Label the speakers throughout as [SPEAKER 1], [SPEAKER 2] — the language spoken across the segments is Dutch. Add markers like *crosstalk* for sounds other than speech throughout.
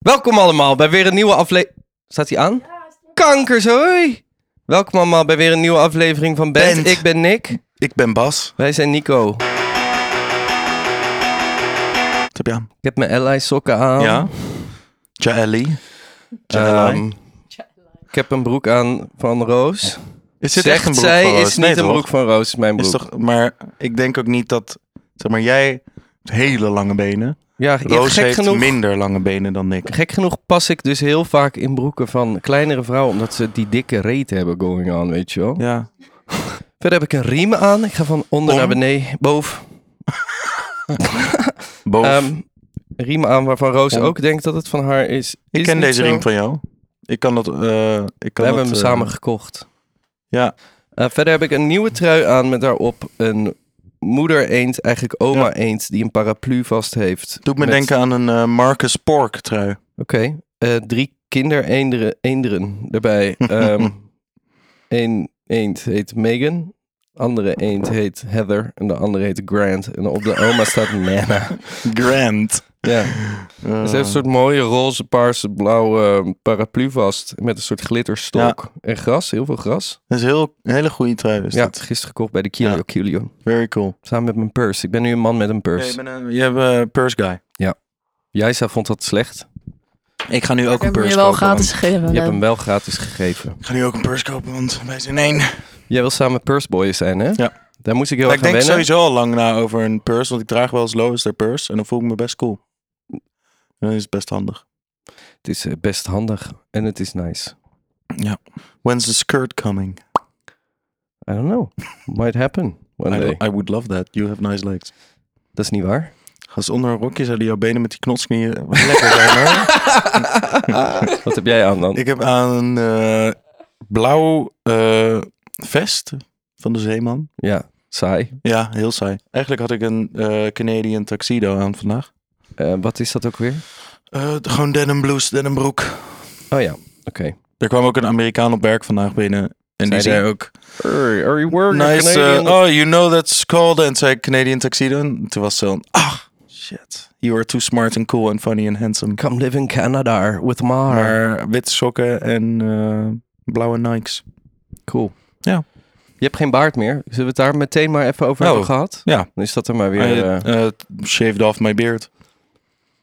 [SPEAKER 1] Welkom allemaal bij weer een nieuwe aflevering. Staat hij aan? Kankers, hoi! Welkom allemaal bij weer een nieuwe aflevering van Band.
[SPEAKER 2] Band.
[SPEAKER 1] Ik ben Nick.
[SPEAKER 2] Ik ben Bas.
[SPEAKER 1] Wij zijn Nico.
[SPEAKER 2] Wat heb je aan?
[SPEAKER 1] Ik heb mijn Ally sokken aan.
[SPEAKER 2] Ja. Jaeli. Jaeli.
[SPEAKER 1] Ehm, ik heb een broek aan van Roos.
[SPEAKER 2] is dit
[SPEAKER 1] Zegt
[SPEAKER 2] echt een broek
[SPEAKER 1] zij
[SPEAKER 2] van Roos?
[SPEAKER 1] is niet
[SPEAKER 2] Nee,
[SPEAKER 1] een
[SPEAKER 2] toch?
[SPEAKER 1] broek van Roos, is mijn broek.
[SPEAKER 2] Is toch, maar ik denk ook niet dat... Zeg maar, jij hebt hele lange benen.
[SPEAKER 1] ja,
[SPEAKER 2] Roos
[SPEAKER 1] gek
[SPEAKER 2] heeft
[SPEAKER 1] genoeg.
[SPEAKER 2] minder lange benen dan ik.
[SPEAKER 1] Gek genoeg pas ik dus heel vaak in broeken van kleinere vrouwen, omdat ze die dikke reet hebben going on, weet je wel.
[SPEAKER 2] Ja.
[SPEAKER 1] Verder heb ik een riem aan. Ik ga van onder
[SPEAKER 2] Om?
[SPEAKER 1] naar beneden, boven.
[SPEAKER 2] Boven.
[SPEAKER 1] Ehm riem aan waarvan Roos
[SPEAKER 2] Om.
[SPEAKER 1] ook denkt dat het van haar is.
[SPEAKER 2] ik
[SPEAKER 1] Is
[SPEAKER 2] ken
[SPEAKER 1] niet
[SPEAKER 2] deze
[SPEAKER 1] zo.
[SPEAKER 2] riem van jou. Ik kan dat... eh, ik
[SPEAKER 1] We
[SPEAKER 2] kan
[SPEAKER 1] hebben hem
[SPEAKER 2] dat, eh,
[SPEAKER 1] samen gekocht.
[SPEAKER 2] Ja.
[SPEAKER 1] Eh, verder heb ik een nieuwe trui aan met daarop een moeder eend, eigenlijk oma eend, die een paraplu vast heeft.
[SPEAKER 2] Doet me
[SPEAKER 1] Met-
[SPEAKER 2] denken aan een eh, Marcus Pork trui.
[SPEAKER 1] Oké, eh, drie kindereenderen eenderen
[SPEAKER 2] *laughs*
[SPEAKER 1] erbij. Ehm Eén eend heet Megan, andere eend heet Heather en de andere heet Grant. En op de oma staat
[SPEAKER 2] *laughs*
[SPEAKER 1] Nana.
[SPEAKER 2] Grand.
[SPEAKER 1] *laughs* Ja.
[SPEAKER 2] Eh,
[SPEAKER 1] Ze heeft een soort mooie roze, paarse, blauwe eh, paraplu vast. Met een soort glitterstok. En gras, heel veel gras.
[SPEAKER 2] dat is heel, een hele goede trui. Is
[SPEAKER 1] ja,
[SPEAKER 2] dat.
[SPEAKER 1] gisteren gekocht bij de Kilio
[SPEAKER 2] Ja.
[SPEAKER 1] Kilio.
[SPEAKER 2] Very cool.
[SPEAKER 1] Samen met mijn purse. Ik ben nu een man met een purse.
[SPEAKER 2] Jij bent een, jij bent een purse guy.
[SPEAKER 1] Jij zei, vond dat slecht.
[SPEAKER 2] Ik ga nu ook een
[SPEAKER 3] Dan
[SPEAKER 2] purse
[SPEAKER 3] moet je wel
[SPEAKER 2] kopen, man.
[SPEAKER 3] gratis geven.
[SPEAKER 1] Je hebt hem wel gratis gegeven.
[SPEAKER 2] Ik ga nu ook een purse kopen, want wij zijn één.
[SPEAKER 1] Jij wil samen purseboy zijn, hè?
[SPEAKER 2] Ja.
[SPEAKER 1] Daar moest ik heel
[SPEAKER 2] Maar
[SPEAKER 1] erg
[SPEAKER 2] ik
[SPEAKER 1] aan
[SPEAKER 2] denk
[SPEAKER 1] wennen.
[SPEAKER 2] sowieso al lang na over een purse, want ik draag wel eens lowester purse en dan voel ik me best cool. En dan is het best handig.
[SPEAKER 1] Het is eh, best handig. En het is nice.
[SPEAKER 2] When's the skirt coming?
[SPEAKER 1] I don't know. Might happen one
[SPEAKER 2] I,
[SPEAKER 1] day.
[SPEAKER 2] I would love that. You have nice legs.
[SPEAKER 1] Dat is niet waar.
[SPEAKER 2] Als onder een rokje zouden jouw benen met die knotsknieën *laughs* wat lekker zijn
[SPEAKER 1] *laughs*
[SPEAKER 2] hoor.
[SPEAKER 1] Wat heb jij aan dan?
[SPEAKER 2] *laughs* Ik heb aan een eh, blauw eh, vest van de zeeman.
[SPEAKER 1] Ja, saai.
[SPEAKER 2] Ja, heel saai. Eigenlijk had ik een eh, Canadian tuxedo aan vandaag.
[SPEAKER 1] Eh, wat is dat ook weer?
[SPEAKER 2] Eh, gewoon denim blouse, denim broek.
[SPEAKER 1] Oh ja, oké.
[SPEAKER 2] Er kwam ook een Amerikaan op werk vandaag binnen. En
[SPEAKER 1] Zei
[SPEAKER 2] die
[SPEAKER 1] die?
[SPEAKER 2] zei ook,
[SPEAKER 1] Hey, are you wearing a
[SPEAKER 2] Nice.
[SPEAKER 1] Canadian-
[SPEAKER 2] uh, oh, you know that's called. En zei ik, Canadian tuxedo. En toen was ze dan. Ah, shit. You are too smart and cool and funny and handsome.
[SPEAKER 1] Come live in Canada with Mar.
[SPEAKER 2] Maar witte sokken en eh, blauwe Nikes.
[SPEAKER 1] Cool.
[SPEAKER 2] Ja.
[SPEAKER 1] Je hebt geen baard meer. Zullen we het daar meteen maar even over
[SPEAKER 2] Oh,
[SPEAKER 1] hebben gehad?
[SPEAKER 2] ja.
[SPEAKER 1] Dan is dat er maar weer...
[SPEAKER 2] I,
[SPEAKER 1] eh,
[SPEAKER 2] eh, shaved off my beard.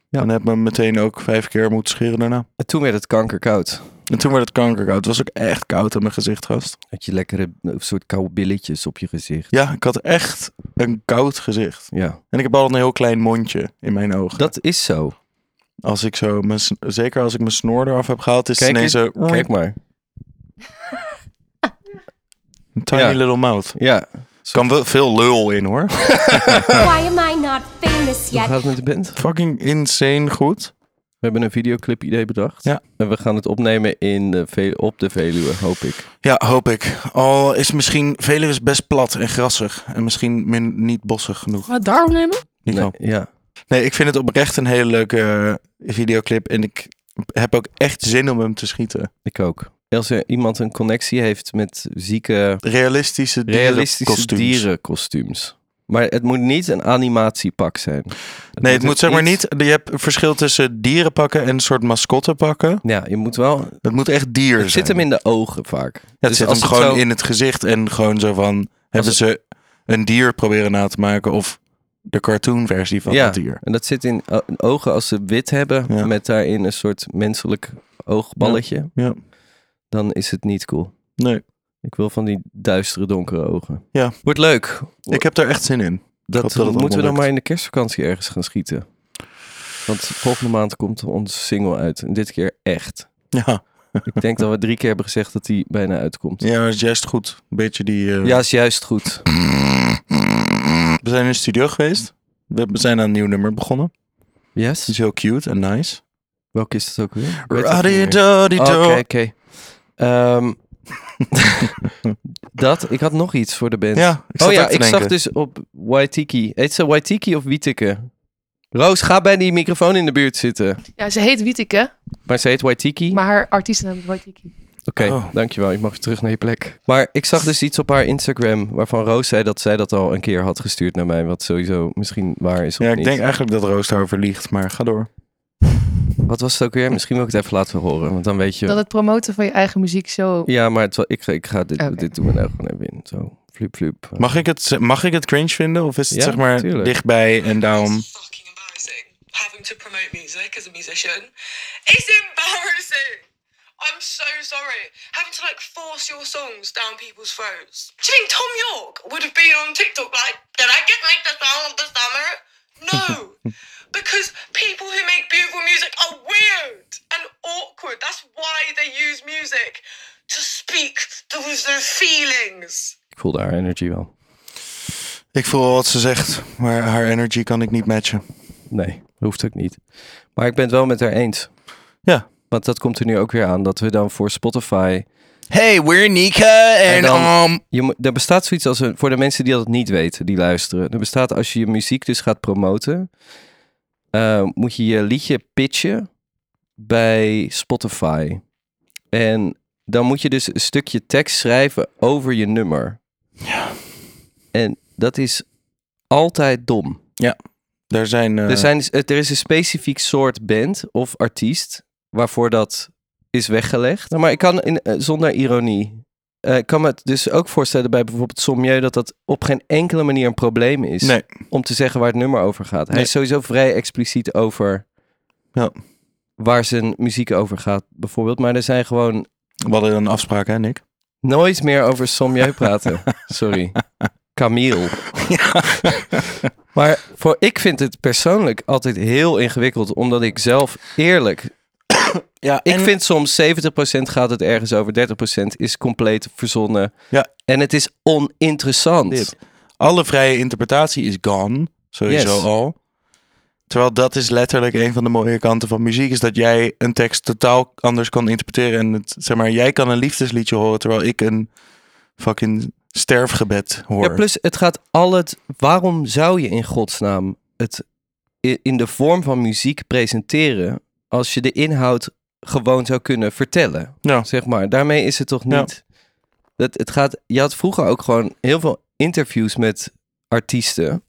[SPEAKER 1] Ja.
[SPEAKER 2] En heb me meteen ook vijf keer moeten scheren daarna.
[SPEAKER 1] en eh, toen werd het kankerkoud.
[SPEAKER 2] En toen werd het kankerkoud. Het was ook echt koud aan mijn gezicht, gast.
[SPEAKER 1] Had je lekkere eh, soort koude billetjes op je gezicht.
[SPEAKER 2] Ja, ik had echt een koud gezicht.
[SPEAKER 1] Ja,
[SPEAKER 2] En ik heb al een heel klein mondje in mijn ogen.
[SPEAKER 1] dat is zo.
[SPEAKER 2] Als ik zo, mijn, s- zeker als ik mijn snor eraf heb gehaald, is het
[SPEAKER 1] Kijk
[SPEAKER 2] ineens zo...
[SPEAKER 1] Kijk maar.
[SPEAKER 2] Tiny
[SPEAKER 1] Ja.
[SPEAKER 2] little mouth.
[SPEAKER 1] Ja.
[SPEAKER 2] Kan wel veel lul in hoor.
[SPEAKER 4] Why am I not famous
[SPEAKER 1] Hoe
[SPEAKER 4] yet?
[SPEAKER 1] gaat het met de band?
[SPEAKER 2] *laughs* Fucking insane goed.
[SPEAKER 1] We hebben een videoclip idee bedacht.
[SPEAKER 2] Ja.
[SPEAKER 1] En we gaan het opnemen in de Ve- op de Veluwe, hoop ik.
[SPEAKER 2] Ja, hoop ik. Al is misschien Veluwe is best plat en grassig. En misschien min, niet bossig genoeg.
[SPEAKER 3] Maar daarom nemen?
[SPEAKER 2] Nico.
[SPEAKER 1] Nee,
[SPEAKER 2] Nee.
[SPEAKER 1] ja.
[SPEAKER 2] ik vind het oprecht een hele leuke eh, videoclip. En ik heb ook echt zin om hem te schieten.
[SPEAKER 1] Ik ook. Als er iemand een connectie heeft met zieke
[SPEAKER 2] Realistische
[SPEAKER 1] realistische
[SPEAKER 2] dierenkostuums.
[SPEAKER 1] dierenkostuums. Maar het moet niet een animatiepak zijn.
[SPEAKER 2] Nee, het moet zeg maar
[SPEAKER 1] iets-
[SPEAKER 2] niet... Je hebt een verschil tussen dierenpakken en een soort mascottepakken.
[SPEAKER 1] Ja, je moet wel.
[SPEAKER 2] Het moet echt dier
[SPEAKER 1] Het
[SPEAKER 2] zijn.
[SPEAKER 1] zit hem in de ogen vaak.
[SPEAKER 2] Ja, Dus het zit hem
[SPEAKER 1] als
[SPEAKER 2] gewoon
[SPEAKER 1] zo-
[SPEAKER 2] in het gezicht en gewoon zo van... Hebben
[SPEAKER 1] het-
[SPEAKER 2] ze een dier proberen na te maken of de cartoonversie van
[SPEAKER 1] Ja.
[SPEAKER 2] het dier.
[SPEAKER 1] En dat zit in o- ogen als ze wit hebben,
[SPEAKER 2] Ja.
[SPEAKER 1] met daarin een soort menselijk oogballetje.
[SPEAKER 2] Ja, ja.
[SPEAKER 1] Dan is het niet cool.
[SPEAKER 2] Nee,
[SPEAKER 1] Ik wil van die duistere, donkere ogen.
[SPEAKER 2] Ja.
[SPEAKER 1] Wordt leuk.
[SPEAKER 2] ik heb daar echt zin in.
[SPEAKER 1] Dat,
[SPEAKER 2] hoop dat het
[SPEAKER 1] moeten we dan
[SPEAKER 2] allemaal
[SPEAKER 1] maar in de kerstvakantie ergens gaan schieten. Want volgende maand komt onze single uit. En dit keer echt.
[SPEAKER 2] Ja,
[SPEAKER 1] Ik denk dat we drie keer hebben gezegd dat die bijna uitkomt.
[SPEAKER 2] ja dat is juist goed. Een beetje die... eh,
[SPEAKER 1] Ja, is juist goed.
[SPEAKER 2] We zijn in de studio geweest. We we zijn aan een nieuw nummer begonnen. Die
[SPEAKER 1] Yes?
[SPEAKER 2] is heel cute en nice.
[SPEAKER 1] Welke is het ook weer? Ik weet het ook niet meer. Oké,
[SPEAKER 2] Radidadido.
[SPEAKER 1] oké. Ehm, dat, ik had nog iets voor de band.
[SPEAKER 2] *laughs* Ja, ik zat
[SPEAKER 1] oh ja,
[SPEAKER 2] ook te
[SPEAKER 1] ik zag
[SPEAKER 2] denken.
[SPEAKER 1] dus op Waitiki. Heet ze Waitiki of Wieteke? Roos, ga bij die microfoon in de buurt zitten.
[SPEAKER 3] Ja, ze heet Wietike,
[SPEAKER 1] Maar ze heet Waitiki.
[SPEAKER 3] maar haar artiestennaam is Waitiki.
[SPEAKER 1] Oké,
[SPEAKER 2] Oh.
[SPEAKER 1] dankjewel. Je mag weer terug naar je plek. Maar ik zag dus iets op haar Instagram waarvan Roos zei dat zij dat al een keer had gestuurd naar mij. Wat sowieso misschien waar is of
[SPEAKER 2] Ja, ik
[SPEAKER 1] niet.
[SPEAKER 2] denk eigenlijk dat Roos daarover liegt, maar ga door.
[SPEAKER 1] Wat was het ook weer? Misschien wil ik het even laten horen, want dan weet je...
[SPEAKER 3] Dat het promoten van je eigen muziek zo...
[SPEAKER 1] Ja, maar het wa- ik, ga- ik ga dit,
[SPEAKER 3] Oké.
[SPEAKER 1] dit doen we nou gewoon even in. Zo, flup, flup.
[SPEAKER 2] Mag ik, het, mag ik het cringe vinden? Of is het
[SPEAKER 1] Ja,
[SPEAKER 2] zeg maar
[SPEAKER 1] tuurlijk.
[SPEAKER 2] dichtbij en daarom...
[SPEAKER 5] It's fucking embarrassing. Having to promote music as a musician. It's embarrassing. I'm so sorry. Having to like force your songs down people's throats. Do you think Tom York would have been on TikTok like, did I just make the song of the summer? No. because people who make beautiful music are weird and awkward. That's why they use music to speak to their feelings.
[SPEAKER 1] Ik voelde haar energy wel.
[SPEAKER 2] Ik voel wat ze zegt, maar haar energy kan ik niet matchen.
[SPEAKER 1] Nee, hoeft ook niet. Maar ik ben het wel met haar eens.
[SPEAKER 2] Ja.
[SPEAKER 1] Want dat komt er nu ook weer aan, dat we dan voor Spotify...
[SPEAKER 2] Hey, we're Nika en...
[SPEAKER 1] dan-
[SPEAKER 2] um,
[SPEAKER 1] Je, moet- er bestaat zoiets als een... Voor de mensen die dat niet weten, die luisteren. Er bestaat als je je muziek dus gaat promoten... eh, moet je je liedje pitchen bij Spotify. En dan moet je dus een stukje tekst schrijven over je nummer. Ja. En dat is altijd dom.
[SPEAKER 2] daar zijn... eh,
[SPEAKER 1] Er, zijn, er is een specifiek soort band of artiest waarvoor dat is weggelegd. Nou, maar ik kan in, eh, zonder ironie. eh, ik kan me het dus ook voorstellen bij bijvoorbeeld Sommieu dat dat op geen enkele manier een probleem is.
[SPEAKER 2] Nee.
[SPEAKER 1] Om te zeggen waar het nummer over gaat. Hij
[SPEAKER 2] Nee.
[SPEAKER 1] is sowieso vrij expliciet over
[SPEAKER 2] Ja.
[SPEAKER 1] waar zijn muziek over gaat, bijvoorbeeld. Maar er zijn gewoon
[SPEAKER 2] We hadden een afspraak, hè Nick?
[SPEAKER 1] nooit meer over Sommieu
[SPEAKER 2] *laughs*
[SPEAKER 1] praten. Sorry. Camille. *laughs* Maar voor, ik vind het persoonlijk altijd heel ingewikkeld, omdat ik zelf eerlijk.
[SPEAKER 2] Ja,
[SPEAKER 1] Ik vind soms 70% gaat het ergens over, 30% is compleet verzonnen.
[SPEAKER 2] Ja.
[SPEAKER 1] En het is oninteressant.
[SPEAKER 2] Dit. alle vrije interpretatie is gone, sowieso
[SPEAKER 1] Yes.
[SPEAKER 2] al. Terwijl dat is letterlijk een van de mooie kanten van muziek, is dat jij een tekst totaal anders kan interpreteren. En het, zeg maar, jij kan een liefdesliedje horen, terwijl ik een fucking sterfgebed hoor.
[SPEAKER 1] Ja, plus het gaat al het. Waarom zou je in godsnaam het i- in de vorm van muziek presenteren als je de inhoud gewoon zou kunnen vertellen?
[SPEAKER 2] Ja.
[SPEAKER 1] Zeg maar, daarmee is het toch
[SPEAKER 2] Ja.
[SPEAKER 1] niet. Dat, het gaat, je had vroeger ook gewoon heel veel interviews met artiesten.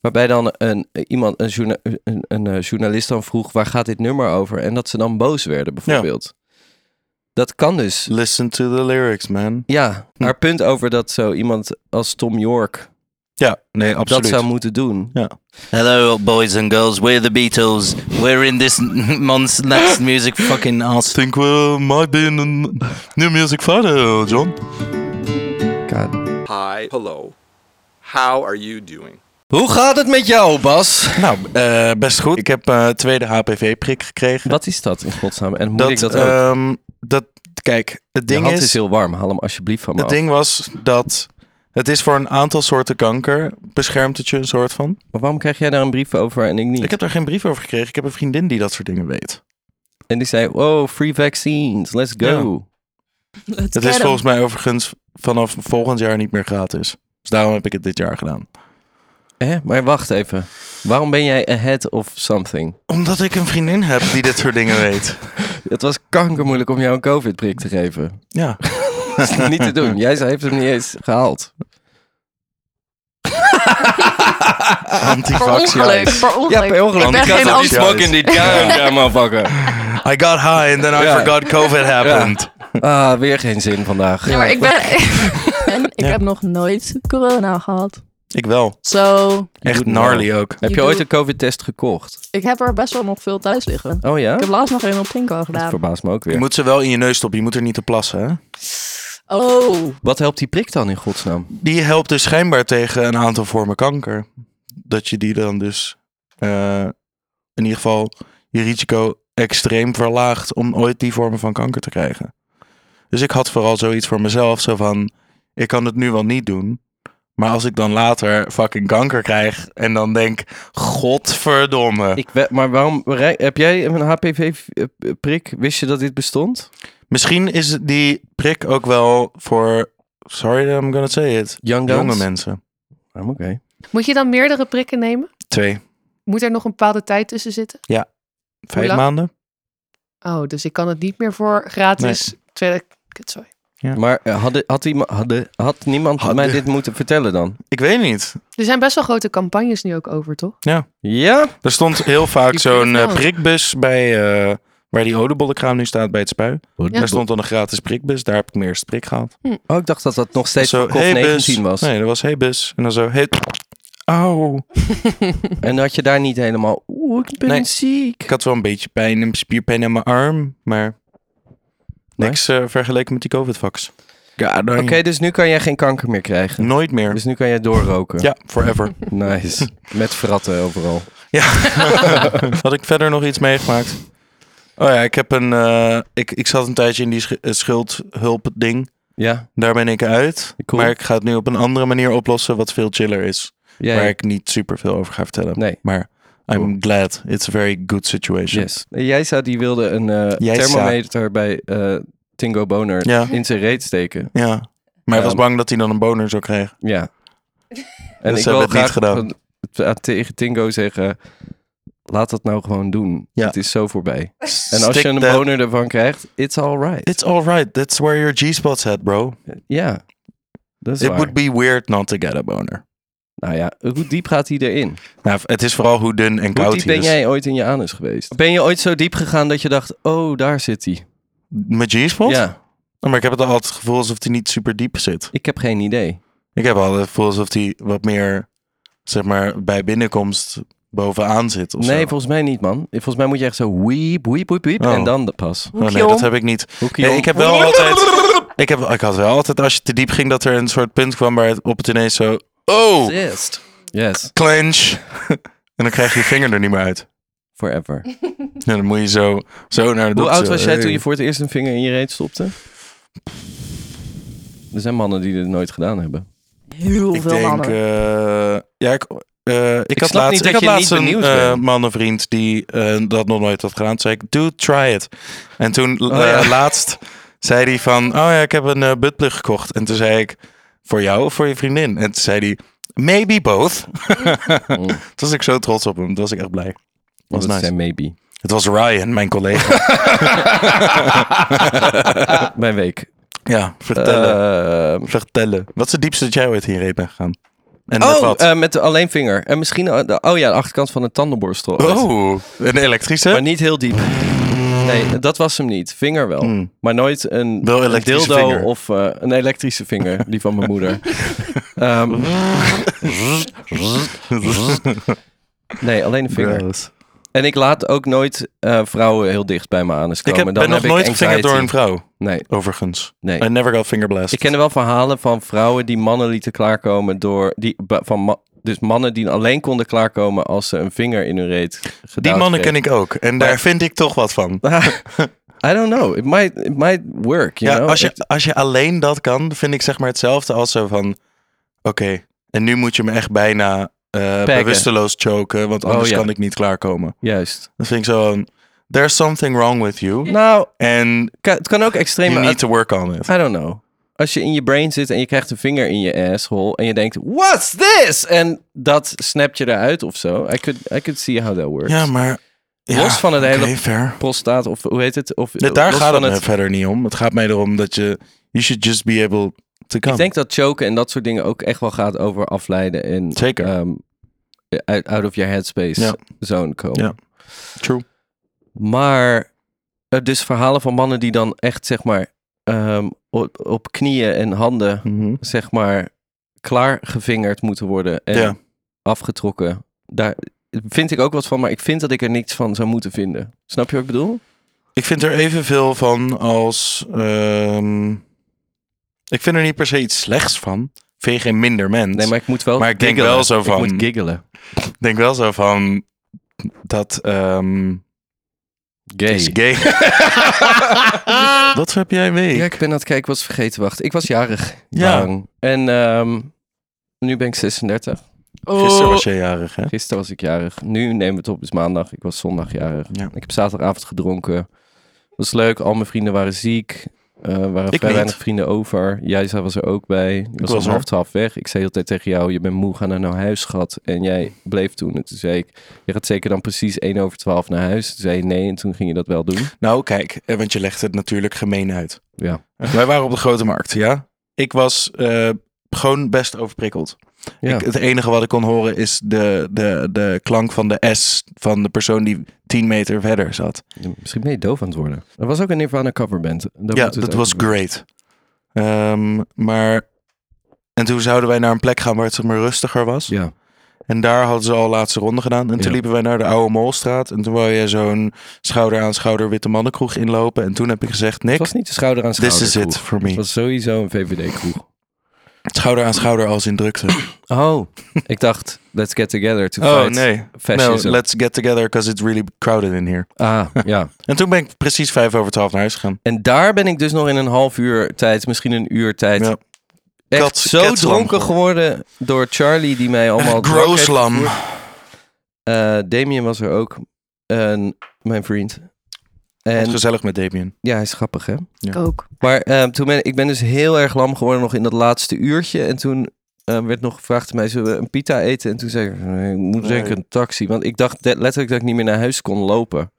[SPEAKER 1] Waarbij dan een, iemand, een, journa- een, een, eh, journalist dan vroeg, waar gaat dit nummer over? En dat ze dan boos werden, bijvoorbeeld. Dat kan dus.
[SPEAKER 2] Listen to the lyrics, man.
[SPEAKER 1] Ja,
[SPEAKER 2] Hm.
[SPEAKER 1] haar punt over dat zo iemand als Tom York
[SPEAKER 2] Ja, nee, absoluut.
[SPEAKER 1] dat zou moeten doen.
[SPEAKER 6] Hello, boys and girls. We're the Beatles. We're in this month's next music fucking ass.
[SPEAKER 2] think we might be in a new music Friday, John.
[SPEAKER 7] Hi, hello. How are you doing?
[SPEAKER 1] Hoe gaat het met jou, Bas?
[SPEAKER 2] Nou, eh, best goed. Ik heb eh tweede HPV-prik gekregen.
[SPEAKER 1] Wat is dat in godsnaam? En moet ik dat ook?
[SPEAKER 2] ehm, dat, kijk, het
[SPEAKER 1] De
[SPEAKER 2] ding
[SPEAKER 1] hand is,
[SPEAKER 2] is
[SPEAKER 1] heel warm. Haal hem alsjeblieft van me
[SPEAKER 2] Het
[SPEAKER 1] af.
[SPEAKER 2] ding was dat het is voor een aantal soorten kanker beschermt het je een soort van.
[SPEAKER 1] Maar waarom krijg jij daar een brief over en ik niet?
[SPEAKER 2] Ik heb daar geen brief over gekregen. Ik heb een vriendin die dat soort dingen weet.
[SPEAKER 1] En die zei, wow, free vaccines, let's go.
[SPEAKER 2] Het is volgens mij overigens vanaf volgend jaar niet meer gratis. Dus daarom heb ik het dit jaar gedaan.
[SPEAKER 1] Hè? Maar wacht even. Waarom ben jij ahead of something?
[SPEAKER 2] Omdat ik een vriendin heb die dit soort dingen weet.
[SPEAKER 1] Het was kankermoeilijk om jou een covid-prik te geven.
[SPEAKER 2] Ja.
[SPEAKER 1] Dat is niet te
[SPEAKER 2] *laughs*
[SPEAKER 1] doen. Jij heeft hem niet eens gehaald.
[SPEAKER 3] Per
[SPEAKER 2] Antivax.
[SPEAKER 3] ongeluk, per ongeluk.
[SPEAKER 1] ongeluk.
[SPEAKER 3] Ik ben
[SPEAKER 2] Anticatholiek.
[SPEAKER 3] geen anti...
[SPEAKER 2] smoke in
[SPEAKER 1] dit jaar, motherfucker.
[SPEAKER 2] I got high and then I
[SPEAKER 1] Ja.
[SPEAKER 2] forgot COVID happened.
[SPEAKER 1] Ah, weer geen zin vandaag.
[SPEAKER 8] Ja, maar ik ben...
[SPEAKER 9] *laughs* En ik
[SPEAKER 2] Ja.
[SPEAKER 9] heb nog nooit corona gehad.
[SPEAKER 2] Ik wel.
[SPEAKER 9] Zo,
[SPEAKER 2] Echt
[SPEAKER 1] doet
[SPEAKER 2] gnarly ook.
[SPEAKER 1] Heb je
[SPEAKER 9] doet-
[SPEAKER 1] ooit een covid-test gekocht?
[SPEAKER 9] ik heb er best wel nog veel thuis liggen.
[SPEAKER 1] Oh ja?
[SPEAKER 9] Ik heb laatst nog een op Pinko
[SPEAKER 1] Dat
[SPEAKER 9] gedaan.
[SPEAKER 1] verbaast me ook weer.
[SPEAKER 2] Je moet ze wel in je neus stoppen. Je moet er niet te plassen. Hè?
[SPEAKER 9] Oh,
[SPEAKER 1] Wat helpt die prik dan in *laughs* godsnaam?
[SPEAKER 2] Die helpt dus schijnbaar tegen een aantal vormen kanker. Dat je die dan dus eh, in ieder geval je risico extreem verlaagt om ooit die vormen van kanker te krijgen. Dus ik had vooral zoiets voor mezelf, zo van, ik kan het nu wel niet doen. Maar als ik dan later fucking kanker krijg en dan denk, godverdomme.
[SPEAKER 1] Ik we- maar waarom heb jij een HPV-prik? eh, Wist je dat dit bestond?
[SPEAKER 2] Misschien is die prik ook wel voor, sorry that I'm gonna say it,
[SPEAKER 1] Young Guns?
[SPEAKER 2] jonge mensen.
[SPEAKER 1] Ah, Oké.
[SPEAKER 3] Moet je dan meerdere prikken nemen?
[SPEAKER 2] Twee,
[SPEAKER 3] Moet er nog een bepaalde tijd tussen zitten?
[SPEAKER 2] vijf
[SPEAKER 3] lang?
[SPEAKER 2] maanden.
[SPEAKER 3] Oh, dus ik kan het niet meer voor gratis. Tweede... Kut, sorry.
[SPEAKER 1] Maar eh, had, had, iemand- hadden- had niemand
[SPEAKER 2] Hadden.
[SPEAKER 1] mij dit moeten vertellen dan?
[SPEAKER 2] Ik weet niet.
[SPEAKER 3] Er zijn best wel grote campagnes nu ook over, toch?
[SPEAKER 1] Ja?
[SPEAKER 2] Er stond
[SPEAKER 3] *laughs*
[SPEAKER 2] heel vaak
[SPEAKER 3] Je
[SPEAKER 2] zo'n
[SPEAKER 3] kunt
[SPEAKER 2] eh,
[SPEAKER 3] wel.
[SPEAKER 2] prikbus bij, eh, waar die oliebollenkraam nu staat bij het spui. Daar stond dan een gratis prikbus. Daar heb ik mijn eerste prik gehaald.
[SPEAKER 1] Oh, ik dacht dat dat nog steeds
[SPEAKER 2] zo,
[SPEAKER 1] kof 19 was.
[SPEAKER 2] Nee, dat was hey bus. En dan zo, hey... Au.
[SPEAKER 1] En had je daar niet helemaal... Oeh, ik ben
[SPEAKER 2] Nee.
[SPEAKER 1] ziek.
[SPEAKER 2] Ik had wel een beetje pijn en spierpijn in mijn arm, maar niks eh, vergeleken met die covid-vax.
[SPEAKER 1] Oké, dus nu kan jij geen kanker meer krijgen.
[SPEAKER 2] Nooit meer.
[SPEAKER 1] Dus nu kan jij doorroken.
[SPEAKER 2] Ja, forever.
[SPEAKER 1] Nice. Met fratten overal.
[SPEAKER 2] Had ik verder nog iets meegemaakt? Oh ja, ik heb een. eh, ik, ik zat een tijdje in die sch- eh, schuldhulp-ding.
[SPEAKER 1] Ja?
[SPEAKER 2] Daar ben ik uit.
[SPEAKER 1] Cool.
[SPEAKER 2] Maar ik ga het nu op een andere manier oplossen, wat veel chiller is.
[SPEAKER 1] Jij?
[SPEAKER 2] Waar ik niet super veel over ga vertellen.
[SPEAKER 1] Nee.
[SPEAKER 2] Maar I'm
[SPEAKER 1] Cool.
[SPEAKER 2] glad. It's a very good situation.
[SPEAKER 1] Yes. Nee, Jij zou die wilde een eh,
[SPEAKER 2] Jij zou-
[SPEAKER 1] thermometer bij eh, Tingo Boner
[SPEAKER 2] Ja.
[SPEAKER 1] in zijn reet steken.
[SPEAKER 2] Ja. Maar hij
[SPEAKER 1] Ja.
[SPEAKER 2] was bang dat hij dan een boner zou krijgen. *laughs*
[SPEAKER 1] Ja. En
[SPEAKER 2] ze
[SPEAKER 1] ik
[SPEAKER 2] hebben
[SPEAKER 1] wil
[SPEAKER 2] het niet
[SPEAKER 1] graag
[SPEAKER 2] gedaan.
[SPEAKER 1] van- van- tegen Tingo zeggen, laat dat nou gewoon doen.
[SPEAKER 2] Ja.
[SPEAKER 1] Het is zo voorbij. En als je een
[SPEAKER 2] that-
[SPEAKER 1] boner ervan krijgt, it's alright.
[SPEAKER 2] It's alright. That's where your G-spot's at, bro.
[SPEAKER 1] Ja, dat is
[SPEAKER 2] It
[SPEAKER 1] waar.
[SPEAKER 2] would be weird not to get a boner.
[SPEAKER 1] Nou ja, hoe diep gaat hij erin?
[SPEAKER 2] Nou, het is vooral hoe dun en
[SPEAKER 1] Hoe
[SPEAKER 2] koud dus.
[SPEAKER 1] diep
[SPEAKER 2] hij
[SPEAKER 1] ben
[SPEAKER 2] is.
[SPEAKER 1] jij ooit in je anus geweest? Ben je ooit zo diep gegaan dat je dacht, oh, daar zit hij?
[SPEAKER 2] Mijn G-spot?
[SPEAKER 1] Ja,
[SPEAKER 2] Maar ik heb het altijd het gevoel alsof hij niet super diep zit.
[SPEAKER 1] ik heb geen idee.
[SPEAKER 2] Ik heb altijd het gevoel alsof hij wat meer, zeg maar, bij binnenkomst bovenaan zit. Of
[SPEAKER 1] Nee,
[SPEAKER 2] zo.
[SPEAKER 1] volgens mij niet, man. Volgens mij moet je echt zo wiep, wiep, wiep, wiep.
[SPEAKER 2] Oh.
[SPEAKER 1] En dan de pas.
[SPEAKER 2] Oh, nee,
[SPEAKER 9] Hoekje
[SPEAKER 2] dat
[SPEAKER 9] om.
[SPEAKER 2] heb ik niet.
[SPEAKER 1] Hoekje
[SPEAKER 2] Nee,
[SPEAKER 1] om.
[SPEAKER 2] ik heb
[SPEAKER 1] *laughs*
[SPEAKER 2] wel altijd. Ik, heb, ik had wel altijd, als je te diep ging, dat er een soort punt kwam waar het op het ineens zo. Oh,
[SPEAKER 1] Zest. Yes,
[SPEAKER 2] clench. *laughs* en dan krijg je je vinger er niet meer uit.
[SPEAKER 1] forever.
[SPEAKER 2] En dan moet je zo, zo naar de
[SPEAKER 1] Hoe
[SPEAKER 2] dokter.
[SPEAKER 1] oud was jij
[SPEAKER 2] Hey.
[SPEAKER 1] toen je voor het eerst een vinger in je reet stopte? Er zijn mannen die dit nooit gedaan hebben.
[SPEAKER 9] Heel
[SPEAKER 2] Ik
[SPEAKER 9] veel
[SPEAKER 2] denk,
[SPEAKER 9] mannen.
[SPEAKER 2] eh, ja, ik, eh, ik, had
[SPEAKER 1] snap
[SPEAKER 2] laatst,
[SPEAKER 1] niet dat
[SPEAKER 2] ik had
[SPEAKER 1] je
[SPEAKER 2] laatst
[SPEAKER 1] niet
[SPEAKER 2] een
[SPEAKER 1] benieuwd
[SPEAKER 2] eh,
[SPEAKER 1] bent.
[SPEAKER 2] mannenvriend die eh, dat nog nooit had gedaan. Toen zei ik, dude, try it. En toen eh,
[SPEAKER 1] Oh, ja.
[SPEAKER 2] laatst zei hij van, oh ja, ik heb een eh buttplug gekocht. En toen zei ik, voor jou of voor je vriendin? En toen zei hij, maybe
[SPEAKER 1] *laughs*
[SPEAKER 2] both.
[SPEAKER 1] Oh.
[SPEAKER 2] toen was ik zo trots op hem. Toen was ik echt blij.
[SPEAKER 1] Want
[SPEAKER 2] Was
[SPEAKER 1] het
[SPEAKER 2] nice.
[SPEAKER 1] zijn maybe.
[SPEAKER 2] Het was Ryan, mijn
[SPEAKER 1] *laughs*
[SPEAKER 2] collega.
[SPEAKER 1] Mijn week.
[SPEAKER 2] ja, vertellen. Eh,
[SPEAKER 1] Ehm,
[SPEAKER 2] vertellen. Wat is het diepste dat jij ooit heen reed bent gegaan? En met
[SPEAKER 1] oh,
[SPEAKER 2] wat?
[SPEAKER 1] eh, met de alleen vinger. En misschien, eh, de- oh ja, de achterkant van een tandenborstel.
[SPEAKER 2] oh, een elektrische?
[SPEAKER 1] Maar niet heel diep. Nee, dat was hem niet. Vinger wel. Maar nooit een,
[SPEAKER 2] Hmm. Wel
[SPEAKER 1] een
[SPEAKER 2] elektrische
[SPEAKER 1] dildo
[SPEAKER 2] vinger.
[SPEAKER 1] of eh, een elektrische vinger. Die van mijn
[SPEAKER 2] *laughs*
[SPEAKER 1] moeder. Ehm, nee, alleen een vinger.
[SPEAKER 2] Gross.
[SPEAKER 1] En ik laat ook nooit eh, vrouwen heel dicht bij me aan de
[SPEAKER 2] Ik
[SPEAKER 1] komen.
[SPEAKER 2] heb,
[SPEAKER 1] Oh, Dan
[SPEAKER 2] ben nog
[SPEAKER 1] heb
[SPEAKER 2] nooit
[SPEAKER 1] ik
[SPEAKER 2] gevingerd door een
[SPEAKER 1] anxiety.
[SPEAKER 2] vrouw,
[SPEAKER 1] Nee,
[SPEAKER 2] overigens.
[SPEAKER 1] nee.
[SPEAKER 2] I never got fingerblasted.
[SPEAKER 1] Ik ken wel verhalen van vrouwen die mannen lieten klaarkomen door... Die, ba- van ma- dus mannen die alleen konden klaarkomen als ze een vinger in hun reet gedaan
[SPEAKER 2] Die mannen ken ik ook. En
[SPEAKER 1] Nou,
[SPEAKER 2] daar
[SPEAKER 1] Maar- Nou,
[SPEAKER 2] vind ik toch wat van.
[SPEAKER 1] I don't know. It might, it might work, you
[SPEAKER 2] Ja,
[SPEAKER 1] know?
[SPEAKER 2] als, je,
[SPEAKER 1] Ik-
[SPEAKER 2] als je alleen dat kan, vind ik zeg maar hetzelfde als zo van... Oké, en nu moet je me echt bijna eh, bewusteloos choken, want anders
[SPEAKER 1] Oh, ja.
[SPEAKER 2] kan ik niet klaarkomen.
[SPEAKER 1] Juist.
[SPEAKER 2] Dat vind ik zo van, There's something wrong with you.
[SPEAKER 1] Nou,
[SPEAKER 2] And
[SPEAKER 1] ka- het kan ook extreem...
[SPEAKER 2] you
[SPEAKER 1] I
[SPEAKER 2] need to work on it.
[SPEAKER 1] don't know. Als je in je brain zit en je krijgt een vinger in je asshole en je denkt, what's this? En dat snapt je eruit of zo. I could, I could see how that works.
[SPEAKER 2] Ja, maar... ja,
[SPEAKER 1] Los van het
[SPEAKER 2] oké,
[SPEAKER 1] hele-
[SPEAKER 2] fair.
[SPEAKER 1] Prostaat of hoe heet het? Of,
[SPEAKER 2] Dit, daar
[SPEAKER 1] los
[SPEAKER 2] gaat het,
[SPEAKER 1] van
[SPEAKER 2] me verder niet om. Het gaat mij erom dat je... You should just be able to come.
[SPEAKER 1] Ik denk dat choken en dat soort dingen ook echt wel gaat over afleiden en
[SPEAKER 2] Zeker.
[SPEAKER 1] ehm, uit out of your headspace
[SPEAKER 2] Ja.
[SPEAKER 1] zone komen.
[SPEAKER 2] Ja. True.
[SPEAKER 1] Maar eh, dus verhalen van mannen die dan echt zeg maar ehm, op, op knieën en handen
[SPEAKER 2] Mhm.
[SPEAKER 1] zeg maar klaargevingerd moeten worden en
[SPEAKER 2] Ja.
[SPEAKER 1] afgetrokken. Daar vind ik ook wat van, maar ik vind dat ik er niks van zou moeten vinden. Snap je wat ik bedoel?
[SPEAKER 2] Ik vind er evenveel van als. ehm, ik vind er niet per se iets slechts van. Vind je geen minder mens.
[SPEAKER 1] Nee, maar ik moet wel.
[SPEAKER 2] Maar ik denk
[SPEAKER 1] giggelen.
[SPEAKER 2] wel zo van-
[SPEAKER 1] Ik moet giggelen.
[SPEAKER 2] Ik denk wel zo van. Dat. ehm
[SPEAKER 1] Gay.
[SPEAKER 2] is *laughs* gay. Wat heb jij mee?
[SPEAKER 1] Ja, ik ben aan het kijken, ik was vergeten, wacht. Ik was jarig.
[SPEAKER 2] Ja.
[SPEAKER 1] Bang. En ehm, nu ben ik 36.
[SPEAKER 2] Gisteren was jij jarig, hè?
[SPEAKER 1] Gisteren was ik jarig. Nu nemen we het op, het is maandag. Ik was zondag jarig.
[SPEAKER 2] Ja.
[SPEAKER 1] Ik heb zaterdagavond gedronken. Was leuk, al mijn vrienden waren ziek. Eh, er waren
[SPEAKER 2] Ik
[SPEAKER 1] vrij
[SPEAKER 2] niet.
[SPEAKER 1] weinig vrienden over. Jij zij was er ook bij. Ik was,
[SPEAKER 2] was
[SPEAKER 1] om
[SPEAKER 2] er.
[SPEAKER 1] half twaalf weg. Ik zei altijd tegen jou, je bent moe, ga naar nou huis, schat. En jij bleef toen. En toen zei ik, je gaat zeker dan precies 1 over 12 naar huis. Toen zei je nee en toen ging je dat wel doen.
[SPEAKER 2] Nou, kijk, eh, want je legt het natuurlijk gemeen uit.
[SPEAKER 1] Ja.
[SPEAKER 2] *laughs* Wij waren op de grote markt, ja. Ik was eh, gewoon best overprikkeld.
[SPEAKER 1] Ja.
[SPEAKER 2] Ik, het enige wat ik kon horen is de, de, de klank van de S van de persoon die 10 meter verder zat.
[SPEAKER 1] Misschien ben je doof aan het worden. Er was ook een Nirvana coverband. Daar moeten we
[SPEAKER 2] eh, ja,
[SPEAKER 1] het over
[SPEAKER 2] dat was
[SPEAKER 1] hebben.
[SPEAKER 2] great. Ehm, maar. En toen zouden wij naar een plek gaan waar het zeg maar rustiger was.
[SPEAKER 1] Ja.
[SPEAKER 2] En daar hadden ze al laatste ronde gedaan. En toen
[SPEAKER 1] Ja.
[SPEAKER 2] liepen wij naar de Oude Molstraat. En toen wou je zo'n schouder aan schouder witte mannenkroeg inlopen. En toen heb ik gezegd,
[SPEAKER 1] Het
[SPEAKER 2] Nick,
[SPEAKER 1] was niet de schouder aan schouder
[SPEAKER 2] this is it
[SPEAKER 1] kroeg.
[SPEAKER 2] for
[SPEAKER 1] Het
[SPEAKER 2] me.
[SPEAKER 1] was sowieso een VVD-kroeg.
[SPEAKER 2] Schouder aan schouder als in drukte.
[SPEAKER 1] Oh, ik dacht, let's get together to
[SPEAKER 2] Oh
[SPEAKER 1] fight
[SPEAKER 2] nee. No,
[SPEAKER 1] fascism.
[SPEAKER 2] let's get together because it's really crowded in here.
[SPEAKER 1] ah, ja.
[SPEAKER 2] En toen ben ik precies vijf over twaalf naar huis gegaan.
[SPEAKER 1] En daar ben ik dus nog in een half uur tijd, misschien een uur tijd,
[SPEAKER 2] Ja.
[SPEAKER 1] echt
[SPEAKER 2] Kat-
[SPEAKER 1] zo
[SPEAKER 2] katslam
[SPEAKER 1] dronken geworden door Charlie, die mij allemaal...
[SPEAKER 2] Echt
[SPEAKER 1] dronk heeft
[SPEAKER 2] grooslam.
[SPEAKER 1] gevoerd. Eh, Damien was er ook, en mijn vriend.
[SPEAKER 2] En...
[SPEAKER 1] En
[SPEAKER 2] Gezellig met Damien.
[SPEAKER 1] ja, hij is grappig, hè?
[SPEAKER 3] Ik ook.
[SPEAKER 1] Maar eh, toen ben ik ben dus heel erg lam geworden nog in dat laatste uurtje. En toen eh, werd nog gevraagd aan mij, zullen we een pita eten? En toen zei ik, nee, ik moet
[SPEAKER 2] Nee.
[SPEAKER 1] zeker een taxi. Want ik dacht de- letterlijk dat ik niet meer naar huis kon lopen.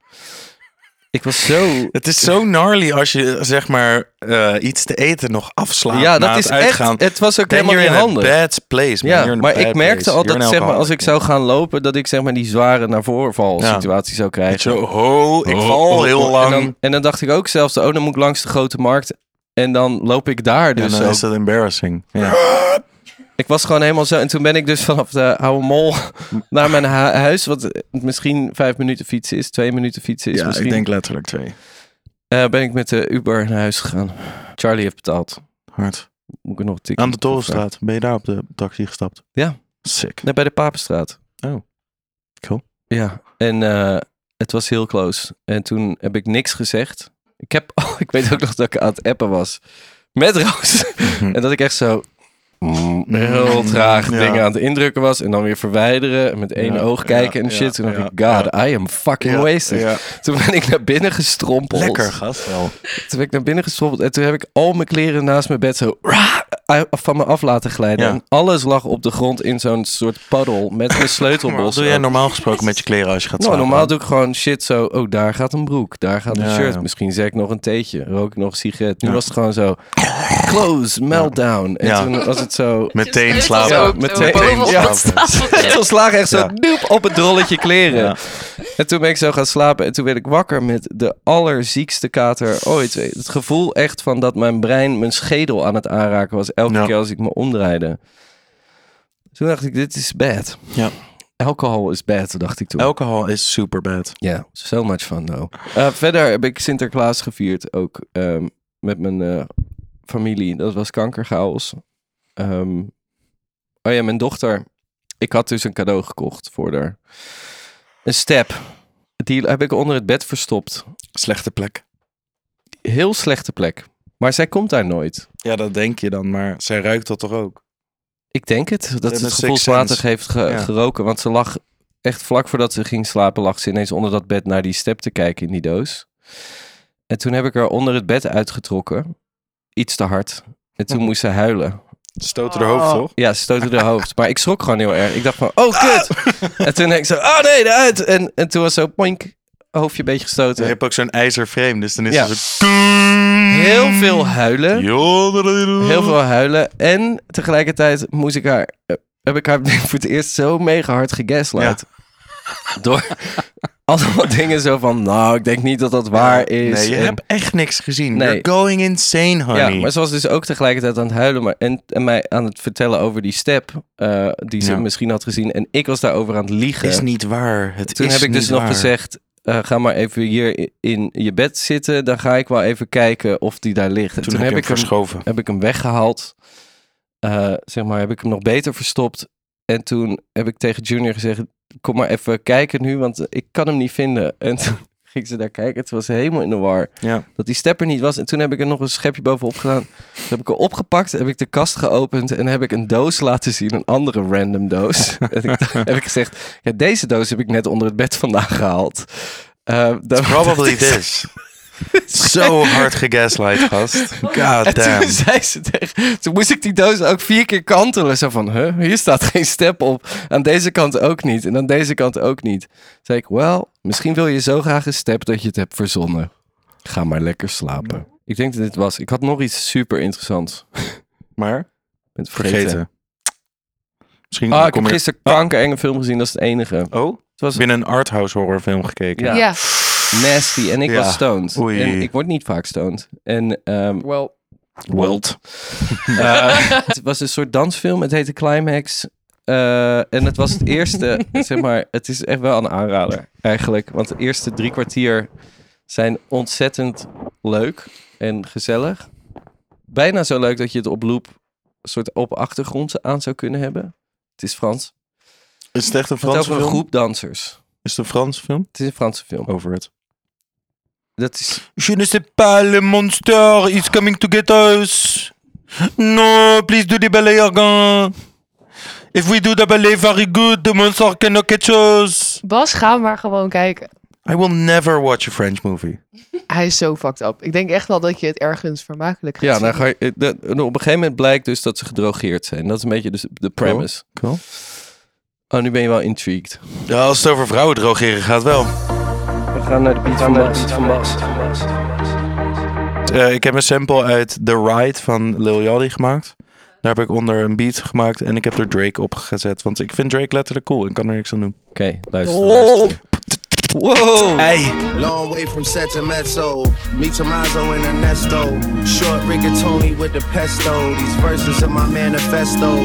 [SPEAKER 1] Ik was
[SPEAKER 2] *laughs*
[SPEAKER 1] zo...
[SPEAKER 2] Het is zo gnarly als je zeg maar eh, iets te eten nog afslaat.
[SPEAKER 1] Ja,
[SPEAKER 2] na
[SPEAKER 1] dat
[SPEAKER 2] het
[SPEAKER 1] is
[SPEAKER 2] uitgaan.
[SPEAKER 1] echt... Het was ook
[SPEAKER 2] Then
[SPEAKER 1] helemaal
[SPEAKER 2] you're
[SPEAKER 1] niet
[SPEAKER 2] in
[SPEAKER 1] handig.
[SPEAKER 2] a bad place. man. You're
[SPEAKER 1] Ja,
[SPEAKER 2] in a
[SPEAKER 1] maar
[SPEAKER 2] bad
[SPEAKER 1] ik merkte
[SPEAKER 2] place.
[SPEAKER 1] al
[SPEAKER 2] You're
[SPEAKER 1] dat
[SPEAKER 2] an
[SPEAKER 1] zeg maar, als ik
[SPEAKER 2] alcoholic.
[SPEAKER 1] zou gaan lopen, dat ik zeg maar die zware naar voren val
[SPEAKER 2] Ja.
[SPEAKER 1] situatie zou krijgen.
[SPEAKER 2] Zo, ho, ik
[SPEAKER 1] Oh,
[SPEAKER 2] val
[SPEAKER 1] oh,
[SPEAKER 2] heel
[SPEAKER 1] oh.
[SPEAKER 2] lang.
[SPEAKER 1] En dan, en dan dacht ik ook zelfs, oh, dan moet ik langs de grote markt. En dan loop ik daar
[SPEAKER 2] Ja,
[SPEAKER 1] dus
[SPEAKER 2] dan
[SPEAKER 1] ook.
[SPEAKER 2] is dat embarrassing. Ja.
[SPEAKER 1] Ik was gewoon helemaal zo. En toen ben ik dus vanaf de oude
[SPEAKER 2] *laughs*
[SPEAKER 1] mol naar mijn hu- huis. Wat eh, misschien vijf minuten fietsen is, twee minuten fietsen is
[SPEAKER 2] Ja,
[SPEAKER 1] misschien.
[SPEAKER 2] ik denk letterlijk twee.
[SPEAKER 1] Eh, ben ik met de Uber naar huis gegaan. Charlie heeft betaald.
[SPEAKER 2] Hard.
[SPEAKER 1] Moet ik er nog een tikje
[SPEAKER 2] Aan de
[SPEAKER 1] voor
[SPEAKER 2] Torenstraat. Ben je daar op de taxi gestapt?
[SPEAKER 1] Ja.
[SPEAKER 2] Sick.
[SPEAKER 1] vragen? Nee, bij de Papenstraat.
[SPEAKER 2] Oh. Cool.
[SPEAKER 1] Ja, en eh, het was heel close. En toen heb ik niks gezegd. Ik, heb, *laughs* oh, ik weet ook nog dat ik aan het appen was. Met Roos. en dat ik echt zo mm, heel traag
[SPEAKER 2] Mhm. Ja.
[SPEAKER 1] dingen aan het indrukken was. En dan weer verwijderen. En met één
[SPEAKER 2] Ja,
[SPEAKER 1] oog
[SPEAKER 2] ja,
[SPEAKER 1] kijken en
[SPEAKER 2] ja,
[SPEAKER 1] shit. Toen dacht
[SPEAKER 2] ja,
[SPEAKER 1] ik, god, I am fucking
[SPEAKER 2] Ja,
[SPEAKER 1] wasted.
[SPEAKER 2] ja.
[SPEAKER 1] Toen ben ik naar binnen gestrompeld.
[SPEAKER 2] Lekker, gast. Wel.
[SPEAKER 1] Toen ben ik naar binnen gestrompeld. En toen heb ik al mijn kleren naast mijn bed zo rah, uit- van me af laten glijden.
[SPEAKER 2] Ja.
[SPEAKER 1] En alles lag op de grond in zo'n soort paddel met
[SPEAKER 2] *laughs*
[SPEAKER 1] mijn
[SPEAKER 2] Maar wat
[SPEAKER 1] sleutelbos.
[SPEAKER 2] doe jij normaal gesproken met je kleren als je gaat
[SPEAKER 1] Nou,
[SPEAKER 2] slapen?
[SPEAKER 1] normaal doe ik gewoon shit zo. Oh, daar gaat een broek. Daar gaat een
[SPEAKER 2] Ja,
[SPEAKER 1] shirt.
[SPEAKER 2] ja.
[SPEAKER 1] Misschien zeg ik nog een theetje. Rook ik nog een sigaret. Nu
[SPEAKER 2] Ja.
[SPEAKER 1] was het gewoon zo. Close, meltdown. En
[SPEAKER 2] Ja.
[SPEAKER 1] toen was het zo.
[SPEAKER 2] Meteen
[SPEAKER 1] Ja,
[SPEAKER 2] slapen.
[SPEAKER 3] ook zo bovenop
[SPEAKER 1] ja.
[SPEAKER 3] het tafeltje.
[SPEAKER 1] Het ontslag echt zo
[SPEAKER 2] Ja.
[SPEAKER 1] doep op het rolletje kleren.
[SPEAKER 2] Ja.
[SPEAKER 1] En toen ben ik zo gaan slapen. En toen werd ik wakker met de allerziekste kater ooit. Het gevoel echt van dat mijn brein mijn schedel aan het aanraken was. Elke
[SPEAKER 2] Ja.
[SPEAKER 1] keer als ik me omdraaide. Toen dacht ik, dit is bad.
[SPEAKER 2] Ja.
[SPEAKER 1] Alcohol is bad, dacht ik toen.
[SPEAKER 2] Alcohol is super bad.
[SPEAKER 1] Ja, so much fun though. Eh, verder heb ik Sinterklaas gevierd ook ehm, met mijn eh, familie. Dat was kankerchaos. Ehm, oh ja, mijn dochter. Ik had dus een cadeau gekocht voor haar. Een step. Die heb ik onder het bed verstopt.
[SPEAKER 2] Slechte plek.
[SPEAKER 1] Heel slechte plek. Maar zij komt daar nooit.
[SPEAKER 2] Ja, dat denk je dan, maar zij ruikt dat toch ook?
[SPEAKER 1] Ik denk het. Dat
[SPEAKER 2] een
[SPEAKER 1] ze het
[SPEAKER 2] sixth
[SPEAKER 1] gevoelsmatig
[SPEAKER 2] sense.
[SPEAKER 1] heeft ge-
[SPEAKER 2] Ja.
[SPEAKER 1] geroken. Want ze lag echt vlak voordat ze ging slapen, lag ze ineens onder dat bed naar die step te kijken in die doos. En toen heb ik haar onder het bed uitgetrokken. Iets te hard. En
[SPEAKER 2] Mhm.
[SPEAKER 1] toen moest ze huilen.
[SPEAKER 2] Stoten de hoofd, toch?
[SPEAKER 1] Ja, ze stootte
[SPEAKER 2] *laughs*
[SPEAKER 1] haar hoofd. Maar ik schrok gewoon heel erg. Ik dacht van, oh kut. En toen denk ik zo, oh nee, eruit. En, en toen was zo, poink, hoofdje een beetje
[SPEAKER 2] Je
[SPEAKER 1] gestoten.
[SPEAKER 2] hebt ook zo'n ijzerframe, dus dan is
[SPEAKER 1] Ja.
[SPEAKER 2] het zo-
[SPEAKER 1] Heel veel huilen.
[SPEAKER 2] Jodelulu.
[SPEAKER 1] Heel veel huilen. En tegelijkertijd moest ik haar, eh, heb ik haar *laughs* voor het eerst zo mega hard gegaslight. Door *laughs* allemaal dingen zo van, nou, ik denk niet dat dat waar is.
[SPEAKER 2] Nee, je
[SPEAKER 1] En-
[SPEAKER 2] hebt echt niks gezien.
[SPEAKER 1] Nee.
[SPEAKER 2] You're going insane, honey.
[SPEAKER 1] ja, maar ze was dus ook tegelijkertijd aan het huilen maar, en, en mij aan het vertellen over die step eh, die ze
[SPEAKER 2] Ja.
[SPEAKER 1] misschien had gezien. En ik was daarover aan het liegen.
[SPEAKER 2] is niet waar. Het
[SPEAKER 1] eh, Toen
[SPEAKER 2] is
[SPEAKER 1] heb ik dus
[SPEAKER 2] niet
[SPEAKER 1] nog
[SPEAKER 2] waar.
[SPEAKER 1] gezegd, eh, ga maar even hier i- in je bed zitten. Dan ga ik wel even kijken of die daar ligt. En
[SPEAKER 2] Toen, heb, ik
[SPEAKER 1] ik hem
[SPEAKER 2] verschoven.
[SPEAKER 1] heb ik hem weggehaald. Eh, zeg maar, heb ik hem nog beter verstopt. En toen heb ik tegen Junior gezegd: Kom maar even kijken nu, want ik kan hem niet vinden. En toen ging ze daar kijken. Het was helemaal in de war.
[SPEAKER 2] Ja.
[SPEAKER 1] Dat die step er niet was. En toen heb ik er nog een schepje bovenop gedaan. Toen heb ik er opgepakt, heb ik de kast geopend en heb ik een doos laten zien. Een andere random doos. en ik, heb ik gezegd: *laughs* ja, Deze doos heb ik net onder het bed vandaan gehaald. Eh, dan-
[SPEAKER 2] Probably this. Zo hard
[SPEAKER 1] *laughs*
[SPEAKER 2] gegaslight, gast. God
[SPEAKER 1] En toen
[SPEAKER 2] Ah, damn.
[SPEAKER 1] *laughs* zei ze tegen... Toen moest ik die doos ook vier keer kantelen. Zo van, huh, hier staat geen step op. Aan deze kant ook niet. En aan deze kant ook niet. Toen zei ik, wel, misschien wil je zo graag een step dat je het hebt verzonnen. Ga maar lekker slapen. Ik denk dat dit was. Ik had nog iets super interessants. Ik
[SPEAKER 2] Maar
[SPEAKER 1] ben het vergeten.
[SPEAKER 2] vergeten. Misschien
[SPEAKER 1] Ah, ik
[SPEAKER 2] kom
[SPEAKER 1] heb
[SPEAKER 2] je-
[SPEAKER 1] gisteren kankerenge film gezien. Dat is het enige. Het
[SPEAKER 2] Oh,
[SPEAKER 1] was
[SPEAKER 2] binnen een arthouse horrorfilm gekeken.
[SPEAKER 1] Ja.
[SPEAKER 3] Ja.
[SPEAKER 1] nasty en ik
[SPEAKER 2] Ja.
[SPEAKER 1] was stoned.
[SPEAKER 2] Oei.
[SPEAKER 1] En ik word niet vaak stoned. En ehm,
[SPEAKER 3] Well.
[SPEAKER 2] *laughs* Wild.
[SPEAKER 1] Eh, het was een soort dansfilm. Het heette Climax. Eh, en het was het eerste, zeg maar, het is echt wel een aanrader eigenlijk. Want de eerste drie kwartier zijn ontzettend leuk en gezellig. Bijna zo leuk dat je het op loop soort op achtergrond aan zou kunnen hebben. Het is Frans.
[SPEAKER 2] Is het echt een
[SPEAKER 1] Het gaat
[SPEAKER 2] Franse
[SPEAKER 1] over
[SPEAKER 2] film?
[SPEAKER 1] een groep dansers.
[SPEAKER 2] Is het een Franse film?
[SPEAKER 1] Het is een Franse film.
[SPEAKER 2] Over het.
[SPEAKER 1] Dat is,
[SPEAKER 2] Je ne sais pas, le monster is coming to get us. No, please do the ballet organ. If we do the ballet very good, the monster cannot catch us.
[SPEAKER 3] Bas, ga maar gewoon kijken.
[SPEAKER 2] I will never watch a French movie.
[SPEAKER 3] Hij is zo fucked up. Ik denk echt wel dat je het ergens vermakelijk gaat
[SPEAKER 1] ja, nou
[SPEAKER 3] zien.
[SPEAKER 1] ga je, eh, dat- op een gegeven moment blijkt dus dat ze gedrogeerd zijn. Dat is een beetje dus de premise.
[SPEAKER 2] Cool.
[SPEAKER 1] Oh, nu ben je wel intrigued.
[SPEAKER 2] Ja, als het over vrouwen drogeren gaat wel.
[SPEAKER 1] We gaan naar de beat van Bas.
[SPEAKER 2] Eh, ik heb een sample uit The Ride van Lil Yachty gemaakt. Daar heb ik onder een beat gemaakt en ik heb er Drake op gezet. Want ik vind Drake letterlijk cool en kan er niks aan doen.
[SPEAKER 1] Oké, luister.
[SPEAKER 3] Oh.
[SPEAKER 1] luister. Wow.
[SPEAKER 2] Hey!
[SPEAKER 8] Long way from set to mezzo. Me Tomazo and Ernesto. Short rigatoni with the pesto. These verses of my manifesto.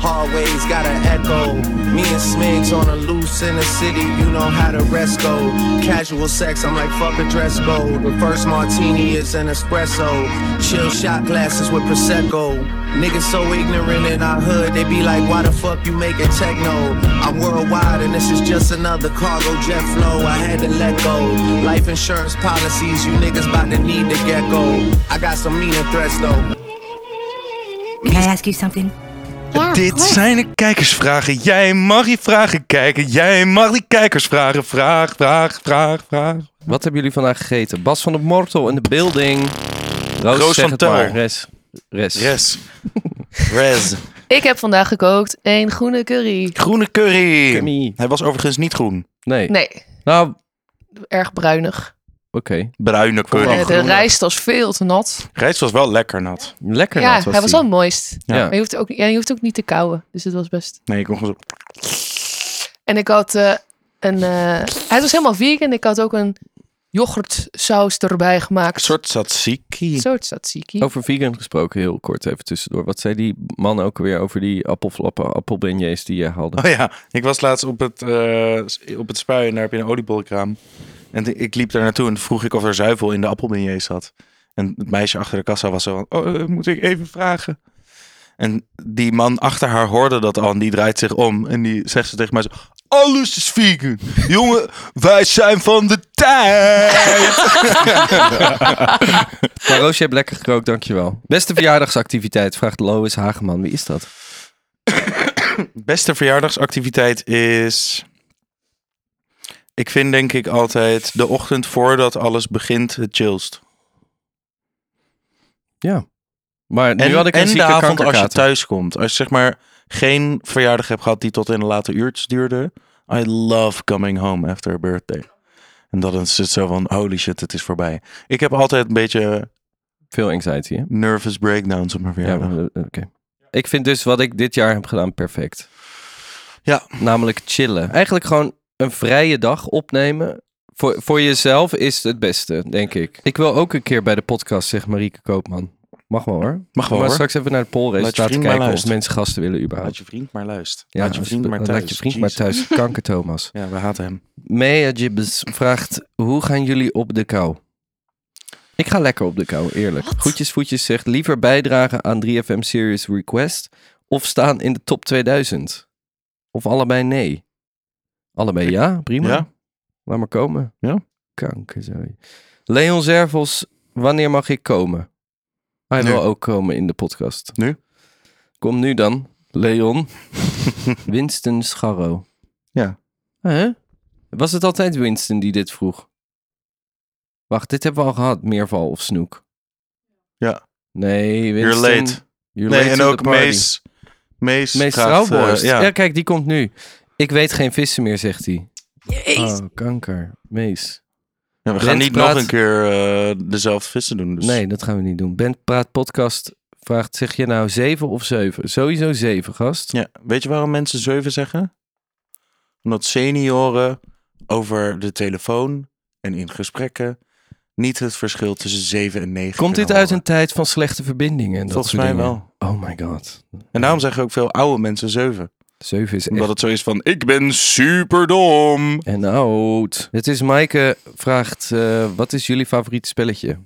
[SPEAKER 8] Hallways got an echo. Me and Smigs on a loose in the city. You know how the rest go. Casual sex, I'm like fuck a dress code. The first martini is an espresso. Chill shot glasses with prosecco. Niggas so ignorant in our hood, they be like, why the fuck you making techno? I'm worldwide and this is just another cargo jet flow. I had to let go. Life insurance policies, you niggas bout to need to get go. I got some meaner threats though.
[SPEAKER 10] Can I ask you something?
[SPEAKER 2] Dit zijn de kijkersvragen. Jij mag die vragen kijken. Jij mag die kijkersvragen. Vraag, vraag, vraag, vraag.
[SPEAKER 1] Wat hebben jullie vandaag gegeten? Bas van de Mortel in de building. Roos,
[SPEAKER 2] Roos
[SPEAKER 1] zeg
[SPEAKER 2] van
[SPEAKER 1] het
[SPEAKER 2] Tel.
[SPEAKER 1] maar. Res. Res.
[SPEAKER 2] Yes. Rez.
[SPEAKER 3] Ik heb vandaag gekookt een groene curry.
[SPEAKER 2] Groene curry.
[SPEAKER 1] Kimmy.
[SPEAKER 2] Hij was overigens niet groen.
[SPEAKER 1] Nee.
[SPEAKER 3] Nee,
[SPEAKER 1] Nou, oké.
[SPEAKER 3] erg bruinig.
[SPEAKER 2] Bruine
[SPEAKER 3] Eh,
[SPEAKER 2] curry.
[SPEAKER 3] de rijst was veel te nat.
[SPEAKER 2] Rijst was wel lekker nat.
[SPEAKER 1] Lekker
[SPEAKER 3] ja,
[SPEAKER 1] nat was
[SPEAKER 3] hij was
[SPEAKER 1] die.
[SPEAKER 3] wel mooist.
[SPEAKER 1] Ja.
[SPEAKER 3] Maar je hoeft, ook, ja, je hoeft ook niet te kauwen. Dus het was best...
[SPEAKER 2] Nee, ik kon gewoon zo...
[SPEAKER 3] En ik had eh, een... eh, hij was helemaal vegan. Ik had ook een yoghurtsaus erbij
[SPEAKER 2] Een
[SPEAKER 3] gemaakt.
[SPEAKER 2] soort tzatziki.
[SPEAKER 3] Een soort tzatziki.
[SPEAKER 1] Over vegan gesproken, heel kort even tussendoor. Wat zei die man ook weer over die appelflappen, appelbeignets die je
[SPEAKER 2] *laughs*
[SPEAKER 1] haalde?
[SPEAKER 2] Oh ja, ik was laatst op het, eh, op het spui en daar heb je een oliebolkraam. En t- ik liep daar naartoe en vroeg ik of er zuivel in de appelbeignets zat. En het meisje achter de kassa was zo van, oh, eh, moet ik even vragen? En die man achter haar hoorde dat al en die draait zich om. En die zegt ze tegen mij zo, alles is vegan. Jongen, wij zijn van de tijd. *laughs*
[SPEAKER 1] Maar Roos, je hebt lekker gekookt, dankjewel. Beste verjaardagsactiviteit, vraagt Lois Hageman. Wie is dat?
[SPEAKER 2] Beste verjaardagsactiviteit is... Ik vind denk ik altijd de ochtend voordat alles begint het chillst.
[SPEAKER 1] Ja. Maar nu
[SPEAKER 2] En,
[SPEAKER 1] had ik een
[SPEAKER 2] en de
[SPEAKER 1] zieke
[SPEAKER 2] avond als je
[SPEAKER 1] kankerkater.
[SPEAKER 2] thuis komt. Als je zeg maar geen verjaardag hebt gehad die tot in de late uurtjes duurde. I love coming home after a birthday. En dan is het zo van, holy shit, het is voorbij. Ik heb altijd een beetje
[SPEAKER 1] Veel anxiety, hè?
[SPEAKER 2] nervous breakdowns op mijn
[SPEAKER 1] Ja,
[SPEAKER 2] verjaardag.
[SPEAKER 1] maar, eh, oké. Ik vind dus wat ik dit jaar heb gedaan perfect.
[SPEAKER 2] Ja.
[SPEAKER 1] Namelijk chillen. Eigenlijk gewoon een vrije dag opnemen. Voor, voor jezelf is het beste, denk ik. Ik wil ook een keer bij de podcast, zegt Marieke Koopman. Mag wel hoor.
[SPEAKER 2] Mag wel
[SPEAKER 1] maar
[SPEAKER 2] hoor.
[SPEAKER 1] straks even naar de polresultaten
[SPEAKER 2] vriend maar
[SPEAKER 1] kijken of
[SPEAKER 2] luisteren.
[SPEAKER 1] mensen gasten willen überhaupt.
[SPEAKER 2] Laat je vriend maar luisteren.
[SPEAKER 1] Ja,
[SPEAKER 2] laat je vriend
[SPEAKER 1] als-
[SPEAKER 2] maar
[SPEAKER 1] Laat
[SPEAKER 2] thuis.
[SPEAKER 1] je vriend maar
[SPEAKER 2] Jesus.
[SPEAKER 1] thuis. Kanker Thomas.
[SPEAKER 2] Ja, we haten hem.
[SPEAKER 1] Mea Jibbes vraagt, hoe gaan jullie op de kou? Ik ga lekker op de kou, eerlijk. Goedjes voetjes zegt, liever bijdragen aan 3FM Serious Request of staan in de top 2000? Of allebei nee? Allebei ja, prima.
[SPEAKER 2] Ja?
[SPEAKER 1] Laat maar komen.
[SPEAKER 2] Ja.
[SPEAKER 1] Kanker, sorry. Leon Zervos, wanneer mag ik komen? Hij
[SPEAKER 2] Nu.
[SPEAKER 1] wil ook komen in de podcast.
[SPEAKER 2] Nu.
[SPEAKER 1] Kom nu dan, Leon. *laughs* Winston Scharro.
[SPEAKER 2] Ja.
[SPEAKER 1] Hè? Was het altijd Winston die dit vroeg? Wacht, dit hebben we al gehad. Meerval of Snoek.
[SPEAKER 2] Ja.
[SPEAKER 1] Nee,
[SPEAKER 2] You're
[SPEAKER 1] Winston.
[SPEAKER 2] late.
[SPEAKER 1] You're
[SPEAKER 2] nee,
[SPEAKER 1] late
[SPEAKER 2] en
[SPEAKER 1] to the
[SPEAKER 2] ook
[SPEAKER 1] party.
[SPEAKER 2] Mees. Mees,
[SPEAKER 1] Mees
[SPEAKER 2] gaat,
[SPEAKER 1] Trouwborst.
[SPEAKER 2] eh,
[SPEAKER 1] ja.
[SPEAKER 2] ja.
[SPEAKER 1] kijk, die komt nu. Ik weet geen vissen meer, zegt hij.
[SPEAKER 3] Jeez.
[SPEAKER 1] Oh, kanker. Mees.
[SPEAKER 2] Ja, we gaan
[SPEAKER 1] Brent
[SPEAKER 2] niet
[SPEAKER 1] praat-
[SPEAKER 2] nog een keer eh, dezelfde vissen doen. Dus.
[SPEAKER 1] Nee, dat gaan we niet doen. Bent Praat Podcast vraagt, zeg je nou zeven of zeven? Sowieso zeven, gast.
[SPEAKER 2] Ja, weet je waarom mensen zeven zeggen? Omdat senioren over de telefoon en in gesprekken niet het verschil tussen zeven en negen
[SPEAKER 1] Komt dit
[SPEAKER 2] kunnen
[SPEAKER 1] uit
[SPEAKER 2] horen.
[SPEAKER 1] een tijd van slechte verbindingen? en dat
[SPEAKER 2] Volgens
[SPEAKER 1] soort
[SPEAKER 2] mij
[SPEAKER 1] dingen?
[SPEAKER 2] wel.
[SPEAKER 1] Oh my god.
[SPEAKER 2] En daarom zeggen ook veel oude mensen zeven.
[SPEAKER 1] Zeven is echt...
[SPEAKER 2] Omdat het zo is van, ik ben superdom.
[SPEAKER 1] En oud. Het is Maaike vraagt, eh, wat is jullie favoriete spelletje?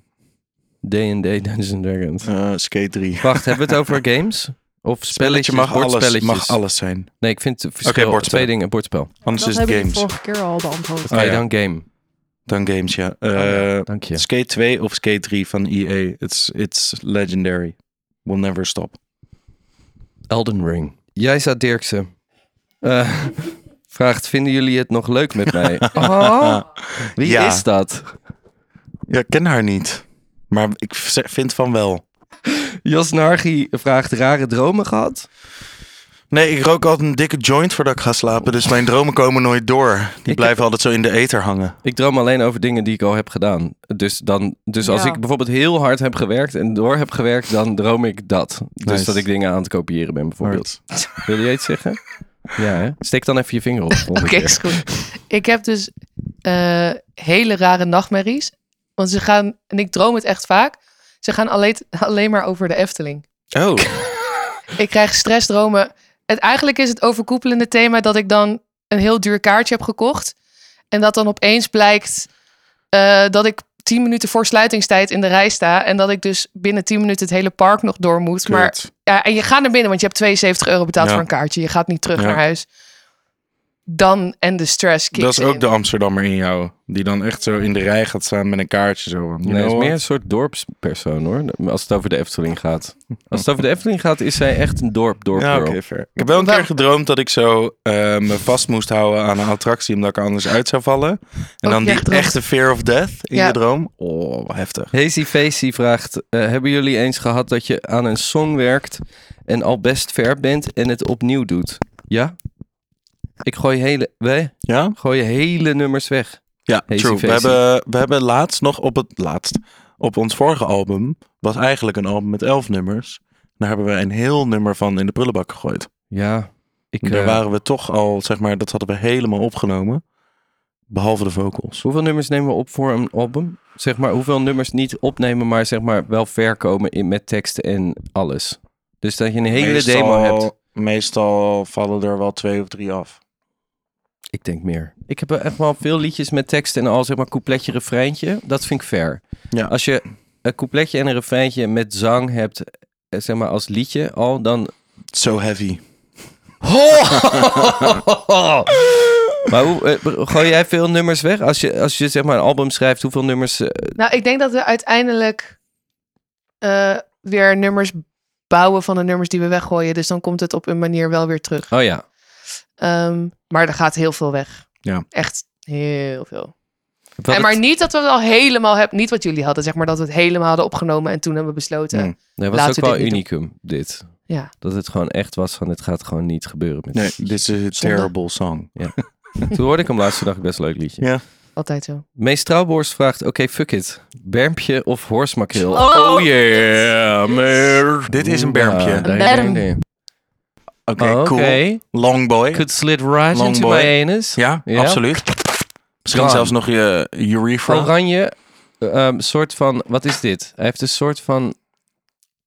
[SPEAKER 1] D&D *laughs* Dungeons and Dragons.
[SPEAKER 2] Eh, skate 3.
[SPEAKER 1] Wacht, hebben we het over games? Of spelletjes,
[SPEAKER 2] mag alles,
[SPEAKER 1] bordspelletjes?
[SPEAKER 2] mag alles zijn.
[SPEAKER 1] Nee, ik vind het verschil
[SPEAKER 2] Oké, bordspel.
[SPEAKER 1] twee dingen. Bordspel. Oké,
[SPEAKER 2] Anders
[SPEAKER 9] Dat
[SPEAKER 2] is het
[SPEAKER 9] hebben we
[SPEAKER 2] dus games.
[SPEAKER 9] vorige keer al beantwoord.
[SPEAKER 2] Ah, ja.
[SPEAKER 1] dan game.
[SPEAKER 2] Dan games, ja. Eh,
[SPEAKER 1] Dank je.
[SPEAKER 2] Skate 2 of Skate 3 van EA. It's, it's legendary. Will never stop.
[SPEAKER 1] Elden Ring. Jijsa Dirksen eh, *laughs* vraagt, vinden jullie het nog leuk met *laughs* mij? Oh, wie
[SPEAKER 2] Ja.
[SPEAKER 1] is dat?
[SPEAKER 2] Ja, ik ken haar niet. Maar ik v- vind van wel.
[SPEAKER 1] Jos Nargi vraagt, rare dromen gehad?
[SPEAKER 2] Nee, ik rook altijd een dikke joint voordat ik ga slapen. Dus mijn dromen komen nooit door. Die blijven altijd zo in de ether hangen.
[SPEAKER 1] Ik droom alleen over dingen die ik al heb gedaan. Dus, dan, dus als
[SPEAKER 9] Ja.
[SPEAKER 1] ik bijvoorbeeld heel hard heb gewerkt en door heb gewerkt, dan droom ik dat. Dus
[SPEAKER 2] Nice.
[SPEAKER 1] dat ik dingen aan het kopiëren ben bijvoorbeeld. Wil je iets zeggen? Ja, hè? Steek dan even je vinger op. de volgende
[SPEAKER 3] *laughs* Oké,
[SPEAKER 1] keer.
[SPEAKER 3] is goed. Ik heb dus eh, hele rare nachtmerries. Want ze gaan, en ik droom het echt vaak, ze gaan alleen, *laughs* alleen maar over de Efteling. *laughs*
[SPEAKER 2] Oh,
[SPEAKER 3] Ik krijg stressdromen. Het, eigenlijk is het overkoepelende thema dat ik dan een heel duur kaartje heb gekocht. En dat dan opeens blijkt eh, dat ik tien minuten voor sluitingstijd in de rij sta. En dat ik dus binnen tien minuten het hele park nog door moet. Maar
[SPEAKER 2] kut.
[SPEAKER 3] ja, en je gaat naar binnen, want je hebt 72 euro betaald
[SPEAKER 2] Ja.
[SPEAKER 3] voor een kaartje. Je gaat niet terug
[SPEAKER 2] Ja.
[SPEAKER 3] naar huis. Dan en de stress kicks
[SPEAKER 2] Dat is ook
[SPEAKER 3] in.
[SPEAKER 2] de Amsterdammer in jou. Die dan echt zo in de rij gaat staan met een kaartje. Zo. van, you
[SPEAKER 1] Nee, het is
[SPEAKER 2] know
[SPEAKER 1] meer een
[SPEAKER 2] what?
[SPEAKER 1] soort dorpspersoon hoor. Als het over de Efteling gaat. Als het over de Efteling gaat, is zij echt een dorp, dorp
[SPEAKER 2] Oh. Ja, oké, fair. Ik heb wel een keer gedroomd dat ik zo eh, me vast moest houden aan een attractie. Omdat ik er anders uit zou vallen. En
[SPEAKER 3] Ook
[SPEAKER 2] dan
[SPEAKER 3] je
[SPEAKER 2] die
[SPEAKER 3] gedroomd.
[SPEAKER 2] echte fear of death in
[SPEAKER 3] Oh, Ja.
[SPEAKER 2] je droom. Oh, wat heftig.
[SPEAKER 1] Hazy Facey vraagt, eh, hebben jullie eens gehad dat je aan een song werkt en al best ver bent en het opnieuw doet? Ja? Ik gooi hele, wij
[SPEAKER 2] Ja?
[SPEAKER 1] gooien hele nummers weg.
[SPEAKER 2] Ja,
[SPEAKER 1] Hazy
[SPEAKER 2] true. We
[SPEAKER 1] Facey.
[SPEAKER 2] hebben, we hebben laatst nog op het laatst. Op ons vorige album was eigenlijk een album met elf nummers. Daar hebben we een heel nummer van in de prullenbak gegooid.
[SPEAKER 1] Ja, ik,
[SPEAKER 2] Daar
[SPEAKER 1] eh,
[SPEAKER 2] waren we toch al, zeg maar, dat hadden we helemaal opgenomen. Behalve de vocals.
[SPEAKER 1] hoeveel nummers nemen we op voor een album? Zeg maar, hoeveel nummers niet opnemen, maar zeg maar wel ver komen in, met teksten en alles? Dus dat je een hele demo hebt.
[SPEAKER 2] Meestal vallen er wel twee of drie af.
[SPEAKER 1] Ik denk meer. Ik heb echt wel veel liedjes met tekst en al zeg maar coupletje, refreintje. Dat vind ik fair.
[SPEAKER 2] Ja.
[SPEAKER 1] Als je een coupletje en een refreintje met zang hebt, eh, zeg maar als liedje al, dan...
[SPEAKER 2] So heavy.
[SPEAKER 1] Oh! maar hoe, eh, gooi jij veel nummers weg? Als je, als je zeg maar een album schrijft, hoeveel nummers... eh,
[SPEAKER 3] Nou, ik denk dat we uiteindelijk eh, weer nummers bouwen van de nummers die we weggooien. Dus dan komt het op een manier wel weer terug.
[SPEAKER 1] oh ja.
[SPEAKER 3] Ehm, maar er gaat heel veel weg.
[SPEAKER 2] Ja.
[SPEAKER 3] Echt heel veel.
[SPEAKER 1] Wat
[SPEAKER 3] en maar
[SPEAKER 1] het-
[SPEAKER 3] niet dat we het al helemaal hebben, niet wat jullie hadden, zeg maar dat we het helemaal hadden opgenomen en toen hebben we besloten.
[SPEAKER 2] Mm.
[SPEAKER 1] nee, was
[SPEAKER 3] laten
[SPEAKER 1] ook wel
[SPEAKER 3] we dit niet
[SPEAKER 1] unicum, dit.
[SPEAKER 3] Ja.
[SPEAKER 1] Dat het gewoon echt was van, het gaat gewoon niet gebeuren. Met
[SPEAKER 2] Nee, this is a
[SPEAKER 3] Zonde.
[SPEAKER 2] terrible song.
[SPEAKER 1] Toen hoorde ik hem laatst, toen dacht ik best een leuk liedje.
[SPEAKER 2] Ja.
[SPEAKER 3] Altijd zo.
[SPEAKER 1] Mees Trouwborst vraagt, oké, fuck it. Bermpje of horsmakreel?
[SPEAKER 9] Oh,
[SPEAKER 1] yeah, meer.
[SPEAKER 2] Dit is een bermpje.
[SPEAKER 1] Ah, nee,
[SPEAKER 9] berm.
[SPEAKER 1] nee, nee.
[SPEAKER 2] Oké,
[SPEAKER 1] Oh, Oké,
[SPEAKER 2] cool. Long boy.
[SPEAKER 1] could slid right
[SPEAKER 2] Long
[SPEAKER 1] into
[SPEAKER 2] boy.
[SPEAKER 1] my anus.
[SPEAKER 2] Ja,
[SPEAKER 1] Ja.
[SPEAKER 2] absoluut. Misschien
[SPEAKER 1] Gone.
[SPEAKER 2] zelfs nog je urethra.
[SPEAKER 1] Oranje, ehm, soort van, wat is dit? Hij heeft een soort van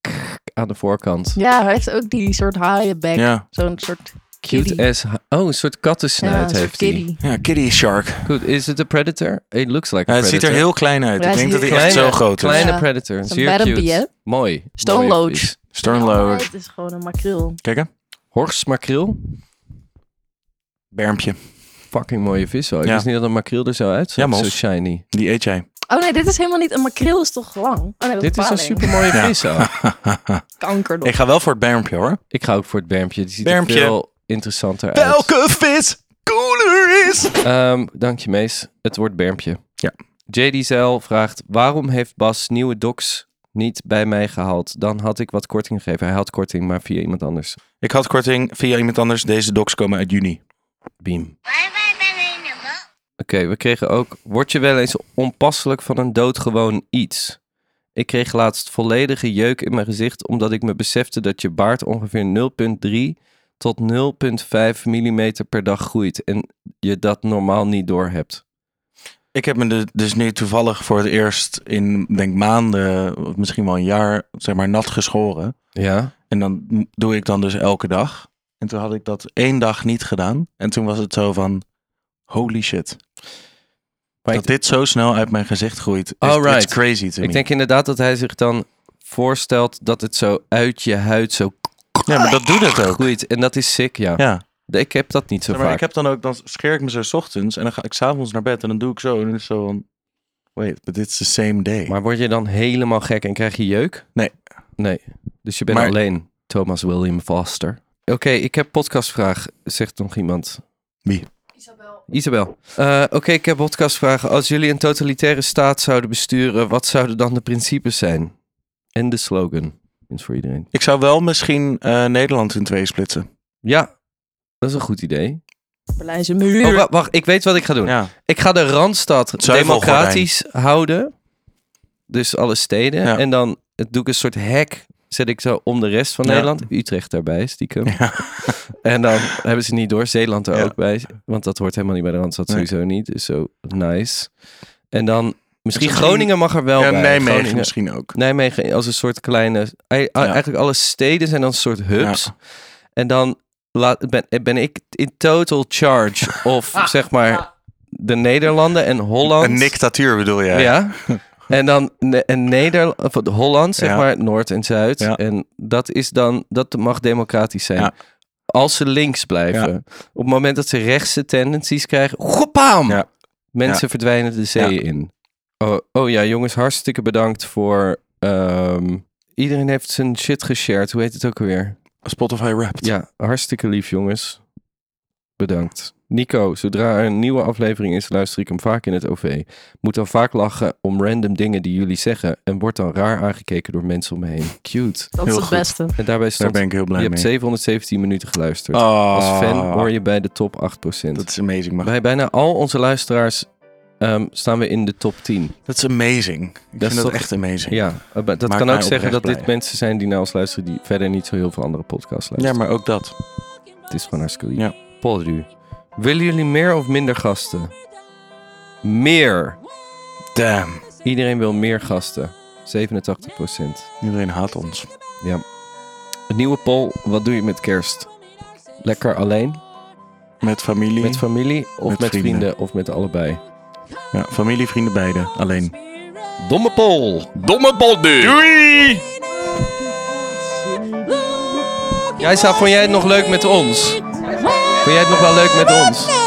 [SPEAKER 1] k- aan de voorkant.
[SPEAKER 9] Ja, hij heeft ook die soort haaienbek.
[SPEAKER 2] Ja.
[SPEAKER 9] Zo'n soort
[SPEAKER 1] Cute
[SPEAKER 9] kitty.
[SPEAKER 1] ass, ha- oh, een soort
[SPEAKER 9] Ja, een
[SPEAKER 1] kattensnuit
[SPEAKER 9] soort
[SPEAKER 1] heeft hij.
[SPEAKER 9] kitty.
[SPEAKER 2] ja, kitty shark.
[SPEAKER 1] Goed, is het een predator? It looks like
[SPEAKER 2] Ja,
[SPEAKER 1] a
[SPEAKER 2] het ziet
[SPEAKER 1] predator.
[SPEAKER 2] er heel klein uit.
[SPEAKER 9] Ja,
[SPEAKER 2] Ik
[SPEAKER 9] hij
[SPEAKER 2] denk
[SPEAKER 9] is
[SPEAKER 2] dat hij
[SPEAKER 9] heel
[SPEAKER 2] echt
[SPEAKER 1] klein.
[SPEAKER 2] zo groot is.
[SPEAKER 1] Kleine
[SPEAKER 9] Ja.
[SPEAKER 1] predator,
[SPEAKER 9] Zo'n
[SPEAKER 1] zeer
[SPEAKER 9] bermpje, hè?
[SPEAKER 1] cute. Mooi.
[SPEAKER 9] Stone
[SPEAKER 1] mooie
[SPEAKER 9] loach.
[SPEAKER 1] vis.
[SPEAKER 9] Ja,
[SPEAKER 2] Sternload.
[SPEAKER 9] Het is gewoon een makreel.
[SPEAKER 2] Kijk hè.
[SPEAKER 1] Horsmakreel,
[SPEAKER 2] Bermpje.
[SPEAKER 1] fucking mooie vis. hoor. Ik
[SPEAKER 2] Ja.
[SPEAKER 1] wist niet dat een makreel er zo uitzag.
[SPEAKER 2] Ja, mos.
[SPEAKER 1] zo shiny.
[SPEAKER 2] Die eet jij.
[SPEAKER 9] Oh nee, dit is helemaal niet... Een makreel is toch lang? Oh, nee, dat
[SPEAKER 1] Dit is een
[SPEAKER 9] paling.
[SPEAKER 1] super mooie
[SPEAKER 2] Ja.
[SPEAKER 1] vis. ook.
[SPEAKER 9] Kanker nog.
[SPEAKER 2] Ik ga wel voor het bermpje hoor.
[SPEAKER 1] Ik ga ook voor het bermpje. Die ziet
[SPEAKER 2] Bermpje.
[SPEAKER 1] er veel interessanter uit.
[SPEAKER 2] Welke vis cooler is?
[SPEAKER 1] Ehm, dank je, Mees. Het wordt bermpje.
[SPEAKER 2] Ja.
[SPEAKER 1] JD Zeil vraagt, waarom heeft Bas nieuwe docs niet bij mij gehaald? Dan had ik wat korting gegeven. Hij had korting, maar via iemand anders.
[SPEAKER 2] Ik had korting via iemand anders. Deze docs komen uit juni.
[SPEAKER 1] Beam. Oké, we kregen ook, word je wel eens onpasselijk van een doodgewoon iets? Ik kreeg laatst volledige jeuk in mijn gezicht omdat ik me besefte dat je baard ongeveer 0,3 tot 0,5 mm per dag groeit en je dat normaal niet doorhebt.
[SPEAKER 2] Ik heb me de- dus nu toevallig voor het eerst in, denk maanden, of misschien wel een jaar, zeg maar, nat geschoren.
[SPEAKER 1] Ja.
[SPEAKER 2] En dan m- doe ik dan dus elke dag. En toen had ik dat één dag niet gedaan. En toen was het zo van, holy shit. dat dit zo snel uit mijn gezicht groeit, is
[SPEAKER 1] All right.
[SPEAKER 2] it's crazy to me.
[SPEAKER 1] Ik denk inderdaad dat hij zich dan voorstelt dat het zo uit je huid zo
[SPEAKER 2] Ja, maar dat doet
[SPEAKER 1] *laughs*
[SPEAKER 2] het ook.
[SPEAKER 1] groeit. En dat is sick, ja.
[SPEAKER 2] Ja.
[SPEAKER 1] Ik heb dat niet zo
[SPEAKER 2] Zeg maar,
[SPEAKER 1] vaak.
[SPEAKER 2] ik heb dan ook, dan scheer ik me zo 's ochtends en dan ga ik s'avonds naar bed en dan doe ik zo. En dan is het zo van, wait, but it's the same day.
[SPEAKER 1] Maar word je dan helemaal gek en krijg je jeuk?
[SPEAKER 2] Nee.
[SPEAKER 1] Nee. Dus je bent
[SPEAKER 2] Maar-
[SPEAKER 1] alleen Thomas William Foster. Oké, ik heb podcastvraag, zegt nog iemand.
[SPEAKER 2] Wie?
[SPEAKER 1] Isabel. Eh, Oké, ik heb podcastvragen. Als jullie een totalitaire staat zouden besturen, wat zouden dan de principes zijn? En de slogan. Is voor iedereen.
[SPEAKER 2] Ik zou wel misschien eh, Nederland in twee splitsen.
[SPEAKER 1] Ja, dat is een goed idee.
[SPEAKER 9] Berlijn is een muur.
[SPEAKER 1] Oh, wa- wacht, ik weet wat ik ga doen.
[SPEAKER 2] Ja.
[SPEAKER 1] Ik ga de Randstad
[SPEAKER 2] zuivelgordijn.
[SPEAKER 1] democratisch houden. Dus alle steden.
[SPEAKER 2] Ja.
[SPEAKER 1] En dan doe ik een soort hek. Zet ik zo om de rest van
[SPEAKER 2] Ja.
[SPEAKER 1] Nederland. Utrecht daarbij, stiekem. *laughs* En dan hebben ze niet door. Zeeland er
[SPEAKER 2] Ja.
[SPEAKER 1] ook bij. Want dat hoort helemaal niet bij de Randstad.
[SPEAKER 2] Nee.
[SPEAKER 1] Sowieso niet. Is zo nice. En dan misschien,
[SPEAKER 2] misschien-
[SPEAKER 1] Groningen mag er wel
[SPEAKER 2] Ja,
[SPEAKER 1] bij.
[SPEAKER 2] Nijmegen
[SPEAKER 1] Groningen-
[SPEAKER 2] misschien ook.
[SPEAKER 1] Nijmegen als een soort kleine... ei- Eigenlijk alle steden zijn dan een soort hubs.
[SPEAKER 2] Ja.
[SPEAKER 1] En dan laat, ben, ben ik in total charge of zeg maar de Nederlanden en Holland.
[SPEAKER 2] Een dictatuur bedoel jij?
[SPEAKER 1] Ja. En dan ne- en Nederland, of het Holland, zeg
[SPEAKER 2] Ja.
[SPEAKER 1] maar, Noord en Zuid.
[SPEAKER 2] Ja.
[SPEAKER 1] En dat is dan, dat mag democratisch zijn.
[SPEAKER 2] Ja.
[SPEAKER 1] Als ze links blijven.
[SPEAKER 2] Ja.
[SPEAKER 1] Op het moment dat ze rechtse tendencies krijgen, goepaam!
[SPEAKER 2] Ja.
[SPEAKER 1] Mensen
[SPEAKER 2] Ja.
[SPEAKER 1] verdwijnen de zee
[SPEAKER 2] Ja.
[SPEAKER 1] in. Oh, oh ja, jongens, hartstikke bedankt voor. ehm, iedereen heeft zijn shit geshared. Hoe heet het ook alweer?
[SPEAKER 2] Spotify Wrapped.
[SPEAKER 1] Ja, hartstikke lief, jongens. Bedankt. Nico, zodra er een nieuwe aflevering is, luister ik hem vaak in het OV. Moet dan vaak lachen om random dingen die jullie zeggen en wordt dan raar aangekeken door mensen om me heen. Cute.
[SPEAKER 2] Heel
[SPEAKER 9] Dat is het
[SPEAKER 2] goed.
[SPEAKER 9] beste.
[SPEAKER 1] En daarbij
[SPEAKER 2] Daar
[SPEAKER 1] stond,
[SPEAKER 2] ben ik heel blij
[SPEAKER 1] je
[SPEAKER 2] mee.
[SPEAKER 1] hebt 717 minuten geluisterd.
[SPEAKER 2] Ah,
[SPEAKER 1] Als fan hoor je bij de top 8%.
[SPEAKER 2] Dat is amazing, man.
[SPEAKER 1] Bij bijna al onze luisteraars ehm, staan we in de top 10.
[SPEAKER 2] Dat is amazing. Ik
[SPEAKER 1] is
[SPEAKER 2] vind dat
[SPEAKER 1] toch-
[SPEAKER 2] echt amazing.
[SPEAKER 1] Ja, eh, maar dat
[SPEAKER 2] Maakt
[SPEAKER 1] kan
[SPEAKER 2] mij
[SPEAKER 1] ook zeggen
[SPEAKER 2] oprecht
[SPEAKER 1] dat dit
[SPEAKER 2] blij.
[SPEAKER 1] mensen zijn die naar ons luisteren die verder niet zo heel veel andere podcasts luisteren.
[SPEAKER 2] Ja, maar ook dat.
[SPEAKER 1] Het is gewoon hartstikke lief.
[SPEAKER 2] Ja.
[SPEAKER 1] Poldu. Willen jullie meer of minder gasten? Meer.
[SPEAKER 2] Damn.
[SPEAKER 1] Iedereen wil meer gasten. 87
[SPEAKER 2] Iedereen haat ons.
[SPEAKER 1] Ja. Een nieuwe poll. Wat doe je met kerst? Lekker alleen?
[SPEAKER 2] Met familie.
[SPEAKER 1] Met familie? Of met,
[SPEAKER 2] Met
[SPEAKER 1] vrienden.
[SPEAKER 2] vrienden.
[SPEAKER 1] Of met allebei?
[SPEAKER 2] ja, familie, vrienden, beide. Alleen.
[SPEAKER 1] Domme poll. Domme poll nu. Jij staat, vond jij het nog leuk met ons? Vond jij het nog wel leuk met ons?